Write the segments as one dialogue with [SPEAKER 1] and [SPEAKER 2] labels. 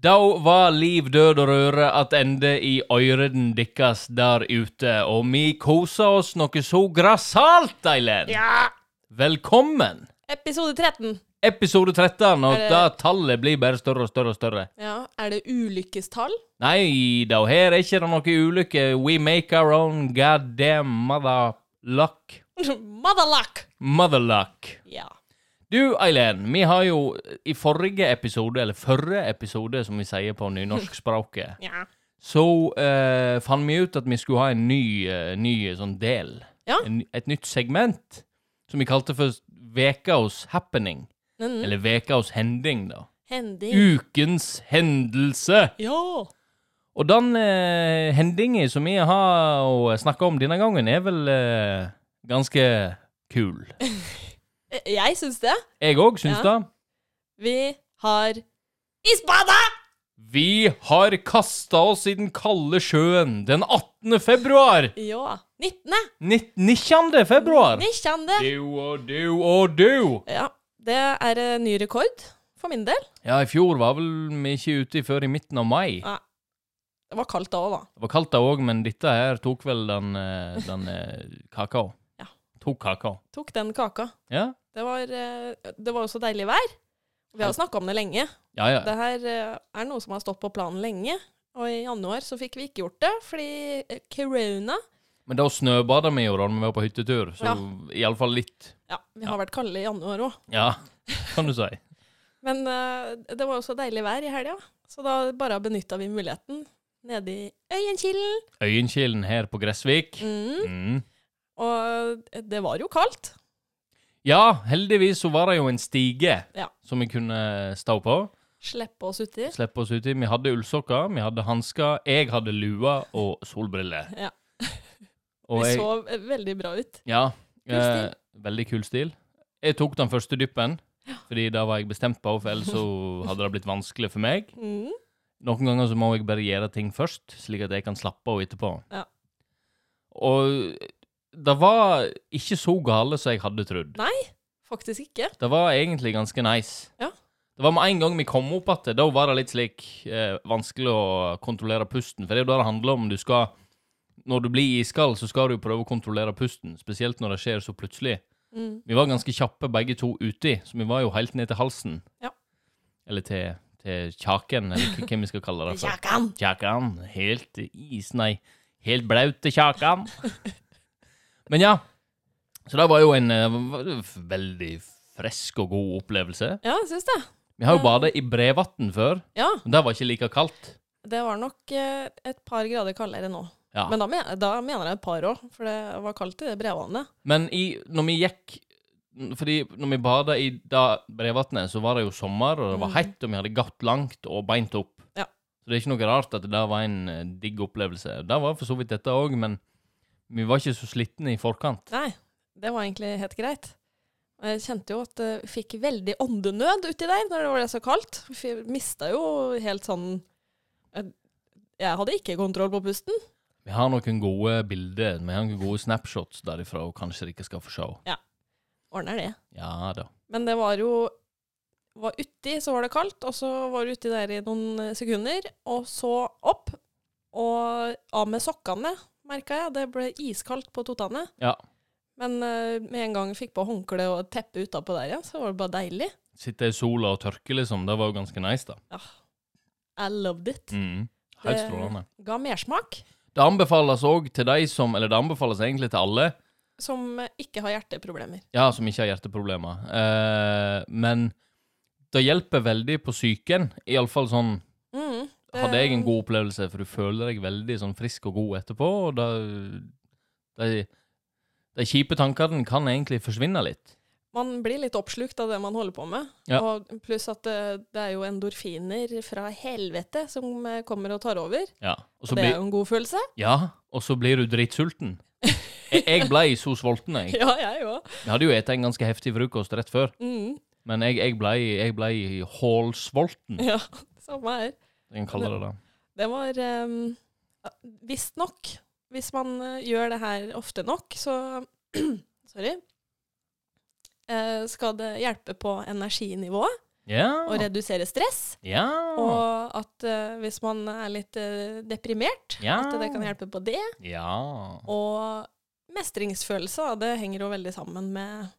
[SPEAKER 1] Da var liv, død og røre attende i øyreden deres der ute, og vi kosa oss noe så grassat, Eileen.
[SPEAKER 2] Ja!
[SPEAKER 1] Velkommen!
[SPEAKER 2] Episode 13.
[SPEAKER 1] Episode 13, og
[SPEAKER 2] Er det-
[SPEAKER 1] da tallet blir bare større og større og større.
[SPEAKER 2] Ja, er det ulykkestall?
[SPEAKER 1] Nei da, her er ikke det noe ulykke. We make our own goddamn mother luck.
[SPEAKER 2] Motherluck!
[SPEAKER 1] Mother luck.
[SPEAKER 2] Ja.
[SPEAKER 1] Du, Eileen, vi har jo i forrige episode, eller førre episode, som vi sier på nynorskspråket,
[SPEAKER 2] Ja.
[SPEAKER 1] så eh, fant vi ut at vi skulle ha en ny, eh, ny sånn del.
[SPEAKER 2] Ja.
[SPEAKER 1] En, et nytt segment som vi kalte for Vekas happening.
[SPEAKER 2] Mm.
[SPEAKER 1] Eller Vekas hending, da.
[SPEAKER 2] Hending.
[SPEAKER 1] Ukens hendelse.
[SPEAKER 2] Ja.
[SPEAKER 1] Og den eh, hendinga som vi har snakka om denne gangen, er vel eh, ganske kul.
[SPEAKER 2] Eh, Jeg syns det.
[SPEAKER 1] Jeg òg syns
[SPEAKER 2] Ja.
[SPEAKER 1] det.
[SPEAKER 2] Vi har Isbada!
[SPEAKER 1] Vi har kasta oss i den kalde sjøen den 18. februar.
[SPEAKER 2] Ja. 19.
[SPEAKER 1] Nitt- 19. februar.
[SPEAKER 2] 19.
[SPEAKER 1] Du og du og du.
[SPEAKER 2] Ja. Det er eh, ny rekord for min del.
[SPEAKER 1] Ja, i fjor var vel vi ikke ute før i midten av mai.
[SPEAKER 2] Ja. Det var kaldt da òg, da.
[SPEAKER 1] Det var kaldt da òg, men dette her tok vel den, eh, den eh, kakao.
[SPEAKER 2] Ja.
[SPEAKER 1] Tok kakao.
[SPEAKER 2] Tok den kaka.
[SPEAKER 1] Ja,
[SPEAKER 2] Det var, eh, det var jo så deilig vær. Vi har snakka om det lenge.
[SPEAKER 1] ja. ja.
[SPEAKER 2] Det her eh, er noe som har stått på planen lenge. Og i januar så fikk vi ikke gjort det, fordi eh, corona
[SPEAKER 1] Men da snøbada vi jo da vi var på hyttetur, så
[SPEAKER 2] Ja.
[SPEAKER 1] i alle fall litt.
[SPEAKER 2] Ja, vi har vært kalde i januar òg.
[SPEAKER 1] Ja, kan du si.
[SPEAKER 2] Men eh, det var jo så deilig vær i helga, så da bare benytta vi muligheten nede i Øyenkilen.
[SPEAKER 1] Øyenkilen her på Gressvik.
[SPEAKER 2] Mm.
[SPEAKER 1] Mm.
[SPEAKER 2] Og det var jo kaldt.
[SPEAKER 1] Ja, heldigvis så var det jo en stige
[SPEAKER 2] Ja.
[SPEAKER 1] som vi kunne stå på.
[SPEAKER 2] Slippe oss uti.
[SPEAKER 1] Slippe oss uti. Vi hadde ullsokker, vi hadde hansker, jeg hadde lua og solbriller.
[SPEAKER 2] Ja.
[SPEAKER 1] Og
[SPEAKER 2] Vi
[SPEAKER 1] jeg-
[SPEAKER 2] så eh, veldig bra ut.
[SPEAKER 1] Ja.
[SPEAKER 2] Kul stil.
[SPEAKER 1] Eh, veldig kul stil. Jeg tok den første dyppen, fordi det var jeg bestemt på, for ellers så hadde det blitt vanskelig for meg.
[SPEAKER 2] Mm.
[SPEAKER 1] Noen ganger så må jeg bare gjøre ting først, slik at jeg kan slappe av etterpå.
[SPEAKER 2] Ja.
[SPEAKER 1] Og det var ikke så gale som jeg hadde trodd.
[SPEAKER 2] Faktisk ikke.
[SPEAKER 1] Det var egentlig ganske nice.
[SPEAKER 2] Ja.
[SPEAKER 1] Det var med en gang vi kom opp igjen, da var det litt slik eh, vanskelig å kontrollere pusten. For det er jo det det handler om. Du skal, når du blir iskald, så skal du prøve å kontrollere pusten. Spesielt når det skjer så plutselig.
[SPEAKER 2] Mm.
[SPEAKER 1] Vi var ganske kjappe begge to uti, så vi var jo helt ned til halsen.
[SPEAKER 2] Ja.
[SPEAKER 1] Eller til, til kjaken, eller hva- hva vi skal kalle det. for.
[SPEAKER 2] Kjakan!
[SPEAKER 1] Kjakan. Helt is, nei. Helt blaut til kjakan. Men ja. Så det var jo en eh, v- v- veldig frisk og god opplevelse.
[SPEAKER 2] Ja, jeg syns det.
[SPEAKER 1] Vi har jo badet i Brevatn før,
[SPEAKER 2] Ja,
[SPEAKER 1] og det var ikke like kaldt.
[SPEAKER 2] det var nok eh, et par grader kaldere nå.
[SPEAKER 1] Ja.
[SPEAKER 2] Men da, men, da mener jeg et par òg, for det var kaldt i det brevvannet.
[SPEAKER 1] Men i, når vi gikk Fordi når vi bada i da Brevatnet, så var det jo sommer, og det var
[SPEAKER 2] Mhm.
[SPEAKER 1] hett, og vi hadde gått langt og beint opp.
[SPEAKER 2] Ja.
[SPEAKER 1] Så det er ikke noe rart at det der var en eh, digg opplevelse. Det var for så vidt dette òg, men vi var ikke så slitne i forkant.
[SPEAKER 2] Nei, det var egentlig helt greit. Og Jeg kjente jo at jeg fikk veldig åndenød uti der når det var så kaldt. Jeg mista jo helt sånn Jeg jeg hadde ikke kontroll på pusten.
[SPEAKER 1] Vi har noen gode bilder, vi har noen gode snapshots derifra, og kanskje dere skal få se.
[SPEAKER 2] Ordner det.
[SPEAKER 1] Ja da.
[SPEAKER 2] Men det var jo var uti, så var det kaldt, og så var du uti der i noen eh, sekunder, og så opp. Og av med sokkene, merka jeg. Det ble iskaldt på totene.
[SPEAKER 1] Ja.
[SPEAKER 2] Men eh, med en gang jeg fikk på håndkle og teppe utapå der igjen, så var det bare deilig.
[SPEAKER 1] Sitte i sola og tørke, liksom. Det var jo ganske nice, da.
[SPEAKER 2] Ah, I loved it.
[SPEAKER 1] Mm. Helt
[SPEAKER 2] Det-
[SPEAKER 1] strålende.
[SPEAKER 2] Ga mersmak.
[SPEAKER 1] Det anbefales òg til de som Eller det anbefales egentlig til alle.
[SPEAKER 2] som ikke har hjerteproblemer.
[SPEAKER 1] Ja, som ikke har hjerteproblemer. Eh, men det hjelper veldig på psyken. Iallfall sånn
[SPEAKER 2] Mm, det-
[SPEAKER 1] hadde jeg en god opplevelse, for du føler deg veldig sånn frisk og god etterpå, og da De, de kjipe tankene kan egentlig forsvinne litt.
[SPEAKER 2] Man blir litt oppslukt av det man holder på med.
[SPEAKER 1] Ja.
[SPEAKER 2] Og pluss at det, det er jo endorfiner fra helvete som eh, kommer og tar over.
[SPEAKER 1] Ja, og så,
[SPEAKER 2] det er
[SPEAKER 1] blir,
[SPEAKER 2] jo en god følelse.
[SPEAKER 1] ja, og så blir du dritsulten. Jeg, jeg ble så sulten, jeg.
[SPEAKER 2] Ja, jeg òg.
[SPEAKER 1] Jeg hadde jo spist en ganske heftig frokost rett før,
[SPEAKER 2] Mm,
[SPEAKER 1] men jeg, jeg ble, jeg ble hallsulten.
[SPEAKER 2] ja, samme her.
[SPEAKER 1] Jeg kan kalle det det.
[SPEAKER 2] Det var um, Visstnok, hvis man eh, gjør det her ofte nok, så Sorry. eh, skal det hjelpe på energinivået. og
[SPEAKER 1] Ja.
[SPEAKER 2] redusere stress.
[SPEAKER 1] Ja.
[SPEAKER 2] Og at eh, hvis man er litt eh, deprimert,
[SPEAKER 1] Ja.
[SPEAKER 2] at det kan hjelpe på det.
[SPEAKER 1] ja.
[SPEAKER 2] Og mestringsfølelse, da, det henger jo veldig sammen med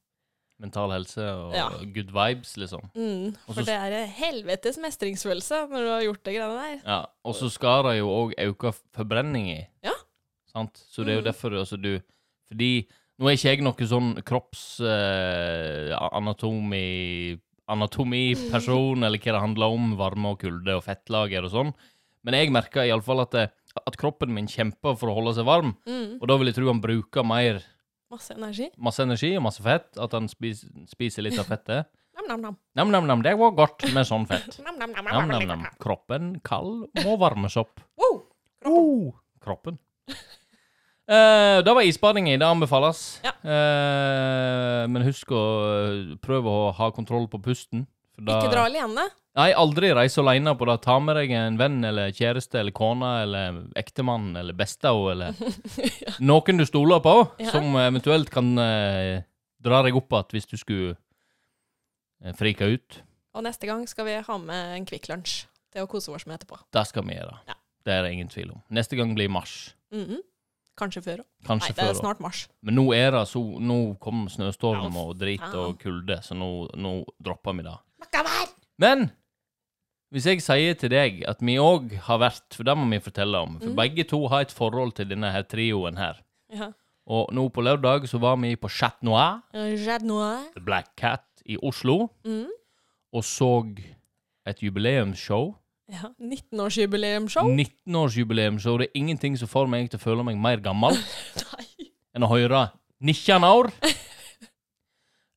[SPEAKER 1] Mental helse og
[SPEAKER 2] Ja.
[SPEAKER 1] good vibes, liksom.
[SPEAKER 2] mm,
[SPEAKER 1] Og
[SPEAKER 2] For
[SPEAKER 1] så-
[SPEAKER 2] det er en helvetes mestringsfølelse når du har gjort det greiene der.
[SPEAKER 1] Ja, og så skal det jo òg auke forbrenninga.
[SPEAKER 2] Ja.
[SPEAKER 1] Sant? Så det er jo
[SPEAKER 2] Mhm.
[SPEAKER 1] derfor altså, du Fordi nå er ikke jeg noe sånn kropps... Eh, anatomi anatomiperson, eller hva det handler om, varme og kulde og fettlager og sånn. Men jeg merker iallfall at, det- at kroppen min kjemper for å holde seg varm.
[SPEAKER 2] Mm,
[SPEAKER 1] Og da vil jeg tro han bruker mer
[SPEAKER 2] masse energi.
[SPEAKER 1] masse energi og masse fett. At han spis, spiser litt av fettet.
[SPEAKER 2] Nam-nam-nam.
[SPEAKER 1] Nam-nam-nam, det var godt med sånn fett. Nam-nam-nam.
[SPEAKER 2] Nam-nam-nam.
[SPEAKER 1] Kroppen kald må varmes opp.
[SPEAKER 2] Wow!
[SPEAKER 1] Oh, kroppen. Eh, da var isbadinga. Det anbefales.
[SPEAKER 2] Ja.
[SPEAKER 1] Eh, men husk å eh, prøve å ha kontroll på pusten. for da-
[SPEAKER 2] Ikke dra alene.
[SPEAKER 1] Nei, aldri reise alene på det. Ta med deg en venn eller kjæreste eller kone eller ektemann eller bestao eller noen du stoler på,
[SPEAKER 2] Ja.
[SPEAKER 1] som eventuelt kan eh, dra deg opp igjen hvis du skulle eh, frike ut.
[SPEAKER 2] Og neste gang skal vi ha med en Kvikk Lunsj til å kose oss med etterpå.
[SPEAKER 1] Det skal vi gjøre.
[SPEAKER 2] Ja.
[SPEAKER 1] Det er det ingen tvil om. Neste gang blir mars.
[SPEAKER 2] Mhm. Kanskje før òg. Nei,
[SPEAKER 1] Kanskje
[SPEAKER 2] det er
[SPEAKER 1] før.
[SPEAKER 2] snart mars.
[SPEAKER 1] Men nå er det så Nå kom snøstorm
[SPEAKER 2] Ja,
[SPEAKER 1] og drit og kulde, så nå, nå dropper vi det.
[SPEAKER 2] Makkavær!
[SPEAKER 1] Men hvis jeg sier til deg at vi òg har vært For det må vi fortelle om. For
[SPEAKER 2] Mm.
[SPEAKER 1] begge to har et forhold til denne her trioen her.
[SPEAKER 2] Ja.
[SPEAKER 1] Og nå på lørdag så var vi på Chat Noir,
[SPEAKER 2] Red Noir.
[SPEAKER 1] The Black Cat, i Oslo,
[SPEAKER 2] Mm.
[SPEAKER 1] og så et jubileumsshow.
[SPEAKER 2] Ja. 19-årsjubileumsshow.
[SPEAKER 1] 19-årsjubileumsshow. Det er ingenting som får meg til å føle meg mer gammel. Mm.
[SPEAKER 2] Nei.
[SPEAKER 1] enn å høre 19 år.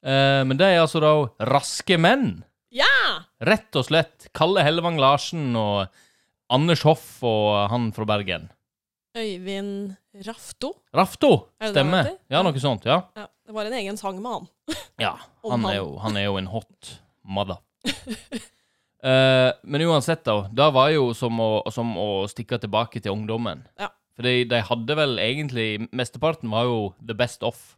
[SPEAKER 1] Eh, men det er altså da raske menn.
[SPEAKER 2] Ja!
[SPEAKER 1] Rett og slett. Kalle Hellevang Larsen og Anders Hoff og han fra Bergen.
[SPEAKER 2] Øyvind Rafto.
[SPEAKER 1] Rafto,
[SPEAKER 2] Er det det han
[SPEAKER 1] stemmer.
[SPEAKER 2] heter?
[SPEAKER 1] Ja, noe sånt. Ja.
[SPEAKER 2] Ja, det var en egen sang med han.
[SPEAKER 1] ja
[SPEAKER 2] Om
[SPEAKER 1] han,
[SPEAKER 2] han.
[SPEAKER 1] er jo, han er jo en hot mother. Eh, men uansett, da. Det var jo som å, som å stikke tilbake til ungdommen.
[SPEAKER 2] Ja.
[SPEAKER 1] Fordi de hadde vel egentlig Mesteparten var jo the best off.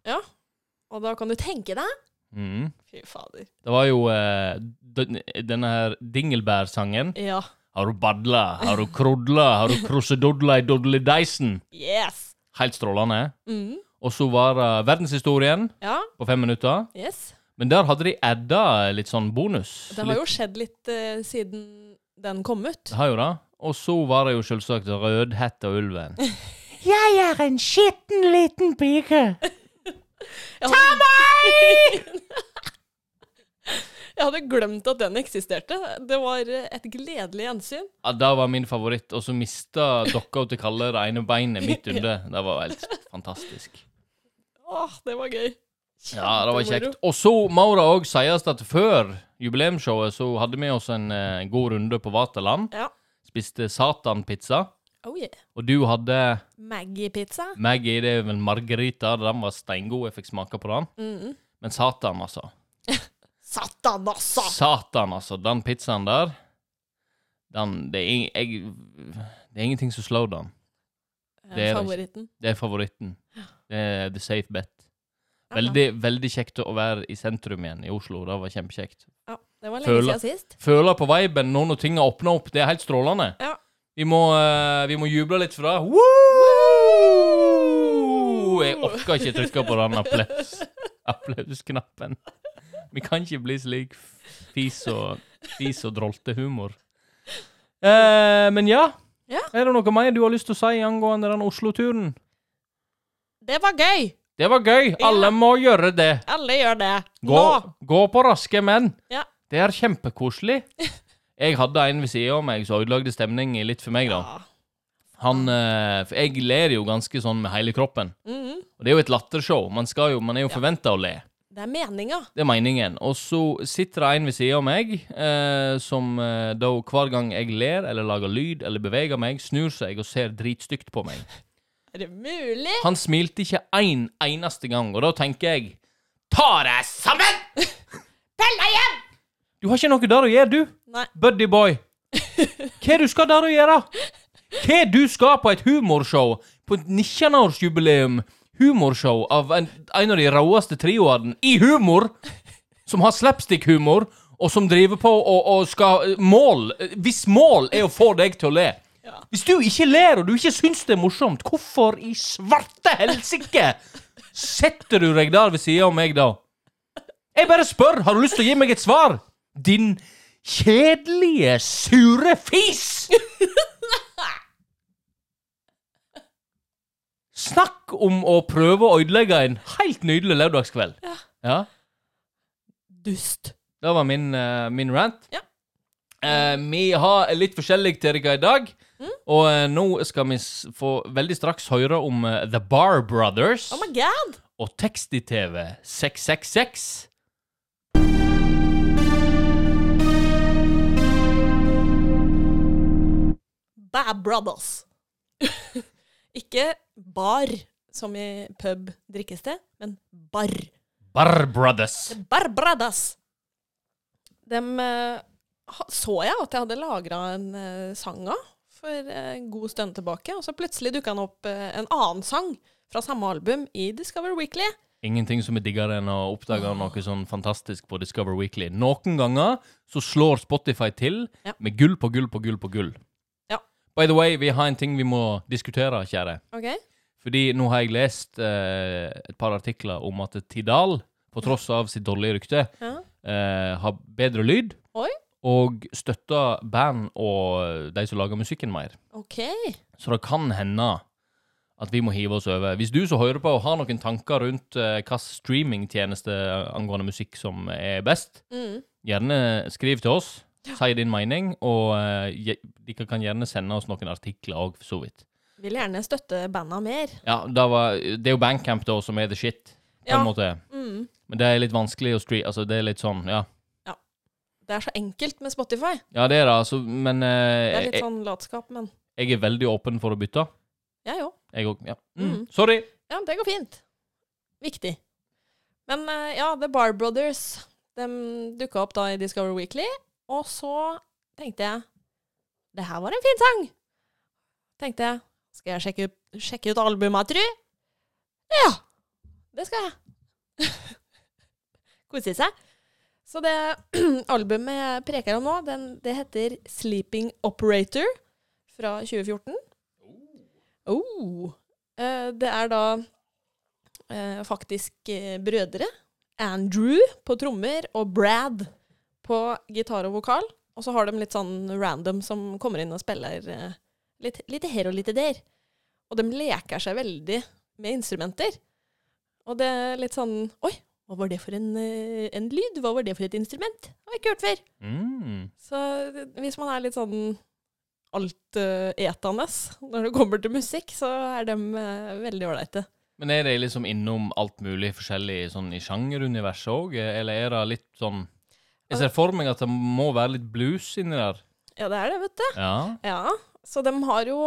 [SPEAKER 2] Og da kan du tenke deg
[SPEAKER 1] Mhm.
[SPEAKER 2] Fy fader.
[SPEAKER 1] Det var jo eh, den, denne her Dingelbær-sangen.
[SPEAKER 2] Ja.
[SPEAKER 1] Har du badla? Har du krudla? Har du krusedodla i dodledeisen?
[SPEAKER 2] Yes!
[SPEAKER 1] Helt strålende.
[SPEAKER 2] Mm.
[SPEAKER 1] Og så var det verdenshistorien
[SPEAKER 2] Ja.
[SPEAKER 1] på fem minutter.
[SPEAKER 2] Yes.
[SPEAKER 1] Men der hadde de adda litt sånn bonus.
[SPEAKER 2] Det har jo skjedd litt eh, siden den kom ut.
[SPEAKER 1] Det har jo det. Og så var det jo selvsagt Rødhette og ulven.
[SPEAKER 3] Jeg er en skitten liten pike.
[SPEAKER 2] Ta meg! Jeg hadde glemt at den eksisterte. Det var eh, et gledelig gjensyn.
[SPEAKER 1] Ja, det var min favoritt. Og så mista dokka til Kalle det ene beinet midt under. Det var helt fantastisk.
[SPEAKER 2] Åh, det var gøy.
[SPEAKER 1] Ja, det var
[SPEAKER 2] Kjempemoro.
[SPEAKER 1] kjekt. Og så må det òg sies at før jubileumsshowet så hadde vi oss en eh, god runde på Vaterland.
[SPEAKER 2] Ja.
[SPEAKER 1] Spiste satanpizza.
[SPEAKER 2] Oh yeah.
[SPEAKER 1] Og du hadde
[SPEAKER 2] Maggie-pizza.
[SPEAKER 1] Maggie, det er vel margarita. Den var steingod. Jeg fikk smake på den.
[SPEAKER 2] Mm.
[SPEAKER 1] Men satan, altså.
[SPEAKER 2] Satan, altså!
[SPEAKER 1] Satan, altså. Den pizzaen der den, det, er ing, jeg, det er ingenting som slår den. Det er det ikke.
[SPEAKER 2] Favoritten.
[SPEAKER 1] Det er favoritten. Det er the safe bet. Veldig, veldig kjekt å være i sentrum igjen i Oslo. Det var kjempekjekt.
[SPEAKER 2] Ja, det var lenge
[SPEAKER 1] Føler-
[SPEAKER 2] siden sist.
[SPEAKER 1] føle på viben nå når ting har åpna opp. Det er helt strålende.
[SPEAKER 2] Ja.
[SPEAKER 1] Vi, må, eh, vi må juble litt for det. Woo! Jeg orker ikke trykke på den applaus applausknappen. Vi kan ikke bli slik fis og, fis og droltehumor. Eh, men ja.
[SPEAKER 2] Ja.
[SPEAKER 1] Er det noe mer du har lyst til å si angående den Oslo-turen?
[SPEAKER 2] Det var gøy!
[SPEAKER 1] Det var gøy. Alle må gjøre det.
[SPEAKER 2] Alle gjør det.
[SPEAKER 1] Gå, gå på Raske menn.
[SPEAKER 2] Ja.
[SPEAKER 1] Det er kjempekoselig. Jeg hadde en ved sida av meg som ødelagde stemningen litt for meg, da.
[SPEAKER 2] Ja.
[SPEAKER 1] Han eh, For jeg ler jo ganske sånn med hele kroppen.
[SPEAKER 2] Mhm.
[SPEAKER 1] Og det er jo et lattershow. Man, skal jo, man er jo forventa å le.
[SPEAKER 2] Det er meninga.
[SPEAKER 1] Det er meningen. Og så sitter det en ved sida av meg eh, som eh, da hver gang jeg ler eller lager lyd eller beveger meg, snur seg og ser dritstygt på meg.
[SPEAKER 2] Er det mulig?
[SPEAKER 1] Han smilte ikke en eneste gang, og da tenker jeg Ta deg sammen!
[SPEAKER 2] Pell deg hjem!
[SPEAKER 1] Du har ikke noe der å gjøre, du.
[SPEAKER 2] Nei.
[SPEAKER 1] Buddy boy. Hva du skal der å gjøre? Hva du skal på et humorshow? På et 19-årsjubileum? Humorshow av en, en av de råeste trioene i humor? Som har slapstick-humor, og som driver på og, og skal eh, Mål Hvis mål er å få deg til å le
[SPEAKER 2] Ja.
[SPEAKER 1] Hvis du ikke ler, og du ikke syns det er morsomt, hvorfor i svarte helsike setter du deg der ved sida av meg, da? Jeg bare spør! Har du lyst til å gi meg et svar? Din kjedelige, sure fis! Snakk om å prøve å ødelegge en helt nydelig lørdagskveld.
[SPEAKER 2] Ja.
[SPEAKER 1] ja.
[SPEAKER 2] Dust.
[SPEAKER 1] Det var min, eh, min rant.
[SPEAKER 2] Ja.
[SPEAKER 1] Eh, vi har litt forskjellig til dere i dag.
[SPEAKER 2] Mm.
[SPEAKER 1] Og eh, nå skal vi s få veldig straks høre om eh, The Bar Brothers
[SPEAKER 2] Oh my god!
[SPEAKER 1] og tekst i TV 666.
[SPEAKER 2] Bad brothers. Ikke bar, som i pub drikkested, men bar.
[SPEAKER 1] Bar Brothers.
[SPEAKER 2] Bar brothers. Dem eh, ha- så jeg at jeg hadde lagra en eh, sang av for eh, en god stund tilbake, og så plutselig dukka han opp eh, en annen sang fra samme album i Discover Weekly.
[SPEAKER 1] Ingenting som er diggere enn å oppdage noe sånn fantastisk på Discover Weekly. Noen ganger så slår Spotify til
[SPEAKER 2] Ja.
[SPEAKER 1] med gull på gull på gull på gull.
[SPEAKER 2] Ja.
[SPEAKER 1] By the way, vi har en ting vi må diskutere, kjære.
[SPEAKER 2] Ok?
[SPEAKER 1] Fordi nå har jeg lest eh, et par artikler om at Tidal, på tross av sitt dårlige rykte,
[SPEAKER 2] Ja.
[SPEAKER 1] eh, har bedre lyd.
[SPEAKER 2] Oi.
[SPEAKER 1] Og støtter band og de som lager musikken mer.
[SPEAKER 2] Ok.
[SPEAKER 1] Så det kan hende at vi må hive oss over. Hvis du som hører på har noen tanker rundt eh, hvilken streamingtjeneste eh, angående musikk som er best,
[SPEAKER 2] Mm.
[SPEAKER 1] gjerne skriv til oss. Si din mening, og eh, je- dere kan gjerne sende oss noen artikler òg, for så vidt.
[SPEAKER 2] Vil gjerne støtte banda mer.
[SPEAKER 1] Ja, det, var, det er jo Bandcamp da som er the shit, på
[SPEAKER 2] Ja.
[SPEAKER 1] en måte.
[SPEAKER 2] Mm.
[SPEAKER 1] Men det er litt vanskelig å streame Altså, det er litt sånn, ja.
[SPEAKER 2] Det er så enkelt med Spotify.
[SPEAKER 1] Ja, det er det, altså, men eh,
[SPEAKER 2] Det er
[SPEAKER 1] jeg,
[SPEAKER 2] litt sånn latskap, men
[SPEAKER 1] jeg er veldig åpen for å bytte.
[SPEAKER 2] jeg òg.
[SPEAKER 1] Jeg òg. Ja. Mm.
[SPEAKER 2] Mm.
[SPEAKER 1] Sorry!
[SPEAKER 2] Ja, det går fint. Viktig. Men eh, ja, The Bar Brothers de dukka opp da i Discover Weekly, og så tenkte jeg Det her var en fin sang! Tenkte jeg. Skal jeg sjekke, ut- sjekke ut albumet, tru? Ja! Det skal jeg. Kose seg. Så det albumet jeg preker om nå, den, det heter Sleeping Operator fra 2014. Oh. Eh, det er da eh, faktisk eh, brødre. Andrew på trommer og Brad på gitar og vokal. Og så har de litt sånn random som kommer inn og spiller eh, litt, litt her og litt der. Og de leker seg veldig med instrumenter. Og det er litt sånn Oi, hva var det for en, eh, en lyd? Hva var det for et instrument? Det har jeg ikke hørt før.
[SPEAKER 1] Mm.
[SPEAKER 2] Så det- hvis man er litt sånn altetende når det kommer til musikk, så er de eh, veldig ålreite.
[SPEAKER 1] Men er det liksom innom alt mulig forskjellig sånn i sjangeruniverset òg, eller er det litt sånn Jeg ser for meg at det må være litt blues inni der.
[SPEAKER 2] Ja, det er det, vet du.
[SPEAKER 1] Ja.
[SPEAKER 2] Ja, Så de har jo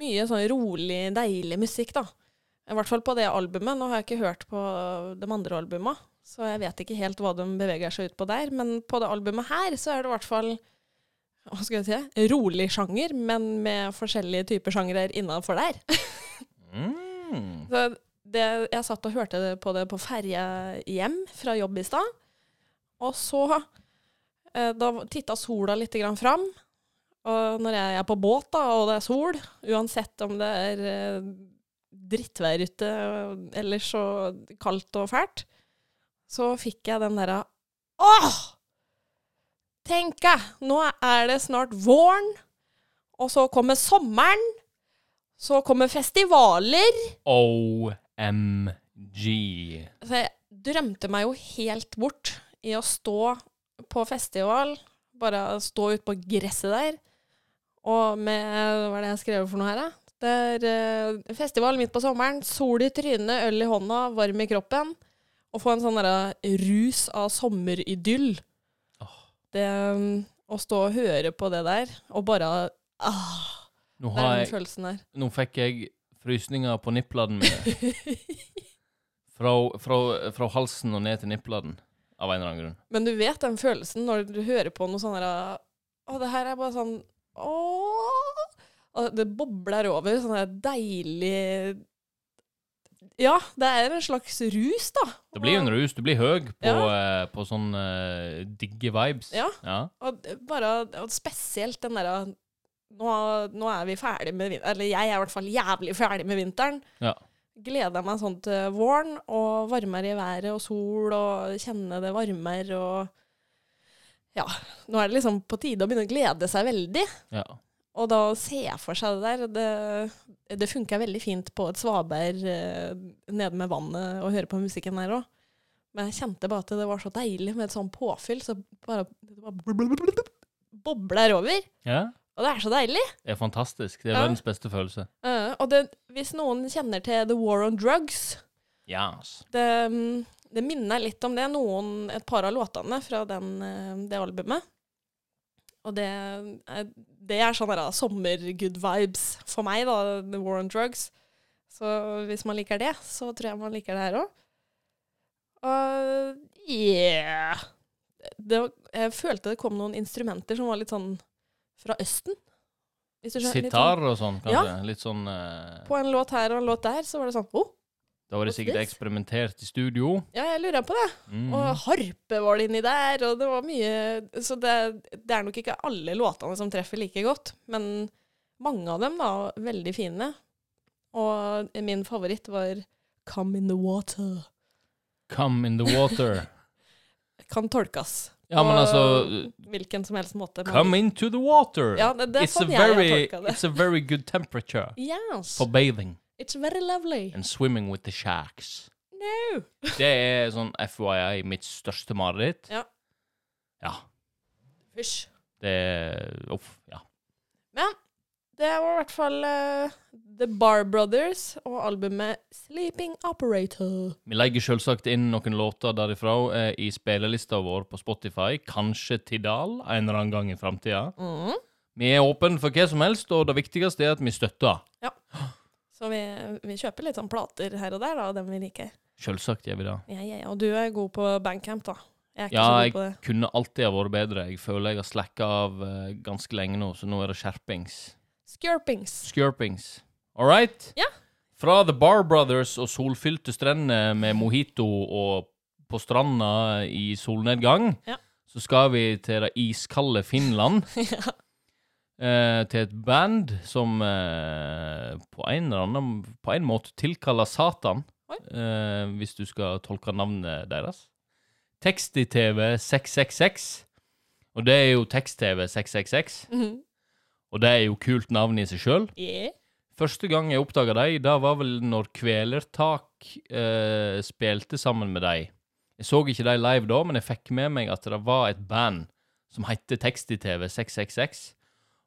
[SPEAKER 2] mye sånn rolig, deilig musikk, da. I hvert fall på det albumet. Nå har jeg ikke hørt på de andre albuma, så jeg vet ikke helt hva de beveger seg ut på der. Men på det albumet her så er det i hvert fall hva skal jeg si, rolig sjanger, men med forskjellige typer sjangre innafor der.
[SPEAKER 1] Mm.
[SPEAKER 2] Så det, jeg satt og hørte det på det på ferje hjem fra jobb i stad. Og så eh, Da titta sola litt grann fram. Og når jeg er på båt da, og det er sol, uansett om det er eh, drittvær ute eller så kaldt og fælt, så fikk jeg den derre Åh! Tenk jeg! Nå er det snart våren, og så kommer sommeren. Så kommer festivaler.
[SPEAKER 1] OMG.
[SPEAKER 2] Så jeg drømte meg jo helt bort i å stå på festival, bare stå ute på gresset der, og med Hva er det jeg har skrevet for noe her, da? Det er eh, festival midt på sommeren, sol i trynet, øl i hånda, varm i kroppen. Å få en sånn derre rus av sommeridyll. Det mm, Å stå og høre på det der, og bare ah,
[SPEAKER 1] Nå
[SPEAKER 2] Det
[SPEAKER 1] har
[SPEAKER 2] er den
[SPEAKER 1] jeg
[SPEAKER 2] følelsen der.
[SPEAKER 1] Nå fikk jeg frysninger på niplene mine. Fra, fra, fra halsen og ned til niplene, av en eller annen grunn.
[SPEAKER 2] Men du vet den følelsen når du hører på noe sånn her Å, det her er bare sånn Ååå. Og det bobler over. Sånn her deilig Ja, det er en slags rus, da.
[SPEAKER 1] Det blir jo en rus. Du blir høy på,
[SPEAKER 2] Ja.
[SPEAKER 1] eh, på sånn eh, digge vibes.
[SPEAKER 2] Ja.
[SPEAKER 1] ja.
[SPEAKER 2] Og det- bare, og spesielt den derre nå, nå er vi ferdig med vinteren. Eller jeg er i hvert fall jævlig ferdig med vinteren.
[SPEAKER 1] Ja.
[SPEAKER 2] Gleder meg sånn til våren og varmere i været og sol og kjenne det varmere og Ja. Nå er det liksom på tide å begynne å glede seg veldig.
[SPEAKER 1] ja.
[SPEAKER 2] Og da ser jeg for seg det der. Det, det funka veldig fint på et svaberg eh, nede med vannet og høre på musikken der òg. Men jeg kjente bare at det var så deilig med et sånn påfyll. Så bare, det bare bobler over.
[SPEAKER 1] ja.
[SPEAKER 2] Og det er så deilig.
[SPEAKER 1] Det er fantastisk. Det er
[SPEAKER 2] Ja.
[SPEAKER 1] verdens beste følelse.
[SPEAKER 2] Eh, og det, hvis noen kjenner til The War on Drugs
[SPEAKER 1] Yes.
[SPEAKER 2] det, mm, det minner litt om det. Noen, et par av låtene fra den, eh, det albumet. Og det, er- det er sånn der sommer-good vibes for meg, da. The War on Drugs. Så hvis man liker det, så tror jeg man liker det her òg. Og yeah! Det, jeg følte det kom noen instrumenter som var litt sånn fra Østen. Hvis du skjønner, litt
[SPEAKER 1] Sitar og sånn, kanskje.
[SPEAKER 2] Ja.
[SPEAKER 1] Litt sånn eh,
[SPEAKER 2] Sånn, på en låt her og en låt der, så var det sånn oh,
[SPEAKER 1] Da var det
[SPEAKER 2] What's
[SPEAKER 1] sikkert
[SPEAKER 2] this?
[SPEAKER 1] eksperimentert i studio.
[SPEAKER 2] ja, jeg lurer på det.
[SPEAKER 1] Mm.
[SPEAKER 2] Og harpe var det inni der, og det var mye Så det, det er nok ikke alle låtene som treffer like godt, men mange av dem var veldig fine. Og min favoritt var Come in the water.
[SPEAKER 1] Come in the water.
[SPEAKER 2] Kan tolkes
[SPEAKER 1] Ja, men altså
[SPEAKER 2] hvilken som helst måte. men-
[SPEAKER 1] Come into the water.
[SPEAKER 2] Ja, det, det er
[SPEAKER 1] it's, a
[SPEAKER 2] sånn jeg har
[SPEAKER 1] very,
[SPEAKER 2] tolka det.
[SPEAKER 1] it's a very good temperature
[SPEAKER 2] Yes,
[SPEAKER 1] for bathing
[SPEAKER 2] it's very lovely.
[SPEAKER 1] and swimming with the sharks.
[SPEAKER 2] No.
[SPEAKER 1] Det er sånn FYI mitt største mareritt.
[SPEAKER 2] Ja.
[SPEAKER 1] Ja.
[SPEAKER 2] Hysj.
[SPEAKER 1] Det er Uff. Ja.
[SPEAKER 2] Det var i hvert fall eh, The Bar Brothers og albumet Sleeping Operator.
[SPEAKER 1] Vi legger selvsagt inn noen låter derifra eh, i spillelista vår på Spotify. Kanskje Tidal en eller annen gang i framtida.
[SPEAKER 2] Mm.
[SPEAKER 1] Vi er åpne for hva som helst, og det viktigste er at vi støtter.
[SPEAKER 2] Så vi, vi kjøper litt sånn plater her og der, da, dem vi liker.
[SPEAKER 1] Selvsagt gjør vi det.
[SPEAKER 2] Ja, ja, ja. Og du er god på bandcamp, da. Jeg er ikke
[SPEAKER 1] Ja,
[SPEAKER 2] så god
[SPEAKER 1] jeg
[SPEAKER 2] på det.
[SPEAKER 1] kunne alltid ha vært bedre. Jeg føler jeg har slacka av eh, ganske lenge nå, så nå er det skjerpings.
[SPEAKER 2] Skirpings.
[SPEAKER 1] Skjerpings. All right?
[SPEAKER 2] Ja.
[SPEAKER 1] Fra The Bar Brothers og solfylte strender med mojito og på stranda i solnedgang,
[SPEAKER 2] Ja.
[SPEAKER 1] så skal vi til det iskalde Finland.
[SPEAKER 2] ja.
[SPEAKER 1] eh, til et band som eh, på en eller annen På en måte tilkaller Satan,
[SPEAKER 2] Oi.
[SPEAKER 1] eh, hvis du skal tolke navnet deres. Tekst-i-TV 666. Og det er jo Tekst-TV 666,
[SPEAKER 2] Mhm.
[SPEAKER 1] og det er jo kult navn i seg sjøl.
[SPEAKER 2] Yeah.
[SPEAKER 1] Første gang jeg oppdaga dem, da var vel når Kvelertak eh, spilte sammen med dem. Jeg så ikke dem live da, men jeg fikk med meg at det var et band som heter Tekst-i-TV 666.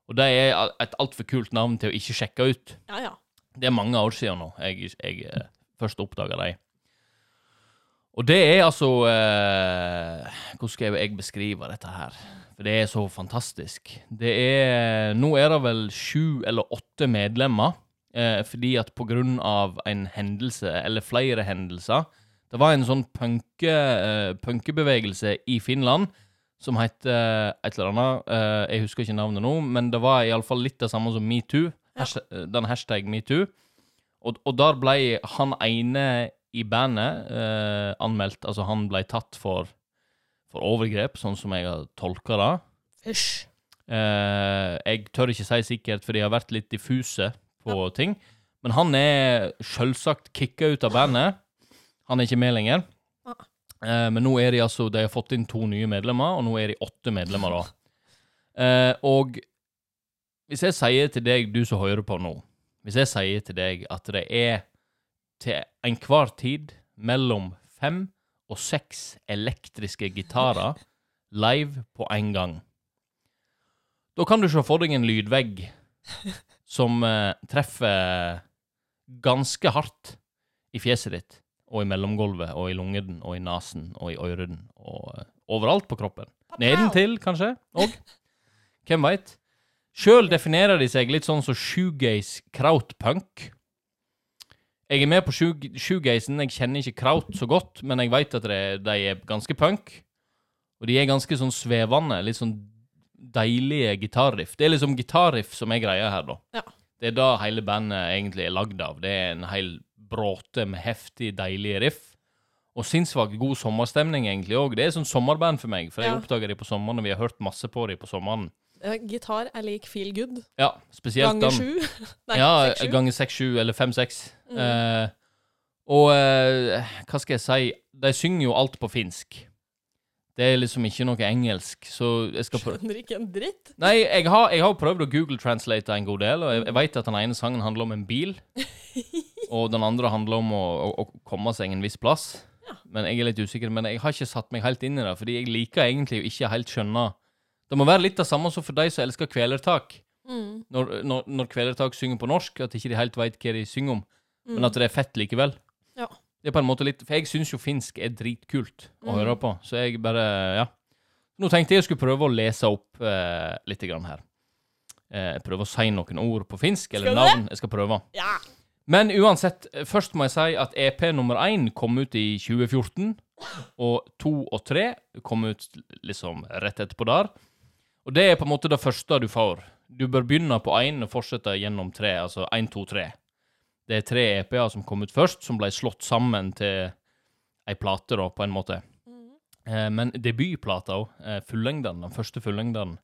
[SPEAKER 1] Og det er al- et altfor kult navn til å ikke sjekke ut.
[SPEAKER 2] Ja, ja.
[SPEAKER 1] Det er mange år siden nå jeg, jeg eh, først oppdaga dem. Og det er altså eh, Hvordan skal jeg beskrive dette her? For det er så fantastisk. Det er Nå er det vel sju eller åtte medlemmer. Eh, fordi at på grunn av en hendelse, eller flere hendelser Det var en sånn punke, eh, punkebevegelse i Finland som het eh, et eller annet eh, Jeg husker ikke navnet nå, men det var iallfall litt det samme som metoo. Hasht eh, den hashtag metoo. Og, og der ble han ene i bandet eh, anmeldt. Altså, han ble tatt for, for overgrep, sånn som jeg har tolka det.
[SPEAKER 2] Hysj.
[SPEAKER 1] Eh, jeg tør ikke si sikkert, for de har vært litt diffuse på ting. Men han er selvsagt kicka ut av bandet. Han er ikke med lenger.
[SPEAKER 2] Ah.
[SPEAKER 1] Eh, men nå er de altså De har fått inn to nye medlemmer, og nå er de åtte medlemmer, da. Eh, og hvis jeg sier til deg, du som hører på nå Hvis jeg sier til deg at det er til enhver tid mellom fem og seks elektriske gitarer live på én gang da kan du se for deg en lydvegg som eh, treffer ganske hardt i fjeset ditt, og i mellomgulvet, og i lungene, og i nesen, og i ørene, og eh, overalt på kroppen. Nedentil, kanskje, og hvem veit? Sjøl definerer de seg litt sånn som shoegaze krautpunk. Jeg er med på shoe- shoegazen, jeg kjenner ikke kraut så godt, men jeg veit at det- de er ganske punk. Og de er ganske sånn svevende, litt sånn deilige gitarriff. Det er liksom gitarriff som er greia her, da.
[SPEAKER 2] Ja.
[SPEAKER 1] Det er det hele bandet egentlig er lagd av. Det er en hel bråte med heftig, deilig riff. Og sinnssvakt god sommerstemning, egentlig òg. Det er sånn sommerband for meg, for jeg
[SPEAKER 2] Ja.
[SPEAKER 1] oppdager de på sommeren, og vi har hørt masse på de på sommeren.
[SPEAKER 2] Ja, Gitar er lik feel good.
[SPEAKER 1] Ja, spesielt
[SPEAKER 2] Ganger
[SPEAKER 1] den.
[SPEAKER 2] sju. Nei,
[SPEAKER 1] ja,
[SPEAKER 2] seks, sju.
[SPEAKER 1] ganger 6-7, eller 5-6.
[SPEAKER 2] Mm.
[SPEAKER 1] Eh, og eh, hva skal jeg si De synger jo alt på finsk. Det er liksom ikke noe engelsk, så jeg skal prøve
[SPEAKER 2] Skjønner ikke en dritt.
[SPEAKER 1] Nei, jeg har, jeg har prøvd å google translate en god del, og jeg, jeg veit at den ene sangen handler om en bil, og den andre handler om å, å, å komme seg en viss plass. Men jeg er litt usikker, men jeg har ikke satt meg helt inn i det, fordi jeg liker egentlig å ikke helt skjønne Det må være litt det samme som for de som elsker kvelertak
[SPEAKER 2] Mm.
[SPEAKER 1] når, når, når Kvelertak synger på norsk, at ikke de helt veit hva de synger om, men at det er fett likevel.
[SPEAKER 2] Mm. Ja.
[SPEAKER 1] Det er på en måte litt For jeg syns jo finsk er dritkult å
[SPEAKER 2] Mm.
[SPEAKER 1] høre på, så jeg bare Ja. Nå tenkte jeg jeg skulle prøve å lese opp eh, litt grann her. Eh, prøve å si noen ord på finsk, eller
[SPEAKER 2] Skal du det?
[SPEAKER 1] navn. Jeg skal prøve.
[SPEAKER 2] Ja.
[SPEAKER 1] Men uansett, eh, først må jeg si at EP nummer én kom ut i 2014, og to og tre kom ut liksom rett etterpå der. Og det er på en måte det første du får. Du bør begynne på én og fortsette gjennom tre, altså én, to, tre. Det er tre EP-er som kom ut først, som ble slått sammen til ei plate, da, på en måte.
[SPEAKER 2] Mm.
[SPEAKER 1] Eh, men debutplata òg, eh, fullengden, den første fullengden,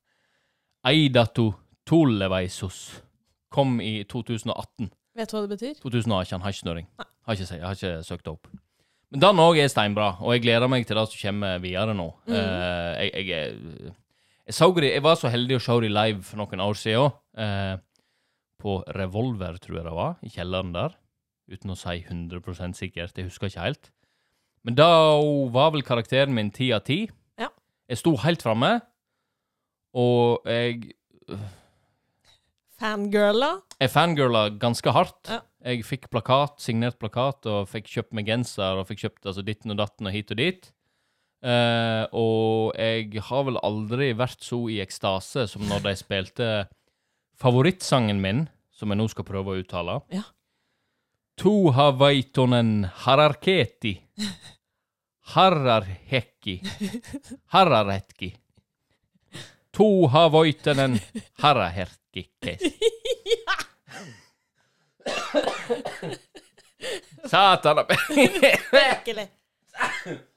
[SPEAKER 1] Eidato Toleveisos, kom i 2018.
[SPEAKER 2] Vet du hva det betyr?
[SPEAKER 1] 2018, har ikke snøring. Har ikke, se- har ikke søkt det opp. Men den òg er steinbra, og jeg gleder meg til det som kommer videre nå.
[SPEAKER 2] Mm.
[SPEAKER 1] Eh, jeg, jeg, er- jeg, så de, jeg var så heldig å se de live for noen år siden. eh, på Revolver, tror jeg det var, i kjelleren der. Uten å si 100 sikkert, jeg husker ikke helt. Men da var vel karakteren min ti av ti.
[SPEAKER 2] Ja.
[SPEAKER 1] Jeg sto helt framme, og jeg
[SPEAKER 2] Fangirla.
[SPEAKER 1] jeg fangirla ganske hardt.
[SPEAKER 2] Ja.
[SPEAKER 1] Jeg fikk plakat, signert plakat, og fikk kjøpt meg genser, og fikk kjøpt altså, ditten og datten og hit og dit. Eh, og jeg har vel aldri vært så i ekstase som når de spilte favorittsangen min, som jeg nå skal prøve å uttale.
[SPEAKER 2] Ja.
[SPEAKER 1] Tu havaitonen hararketi. Hararhekki. Hararhetki. Tu havaitonen hararhekki. Satan!
[SPEAKER 2] Virkelig.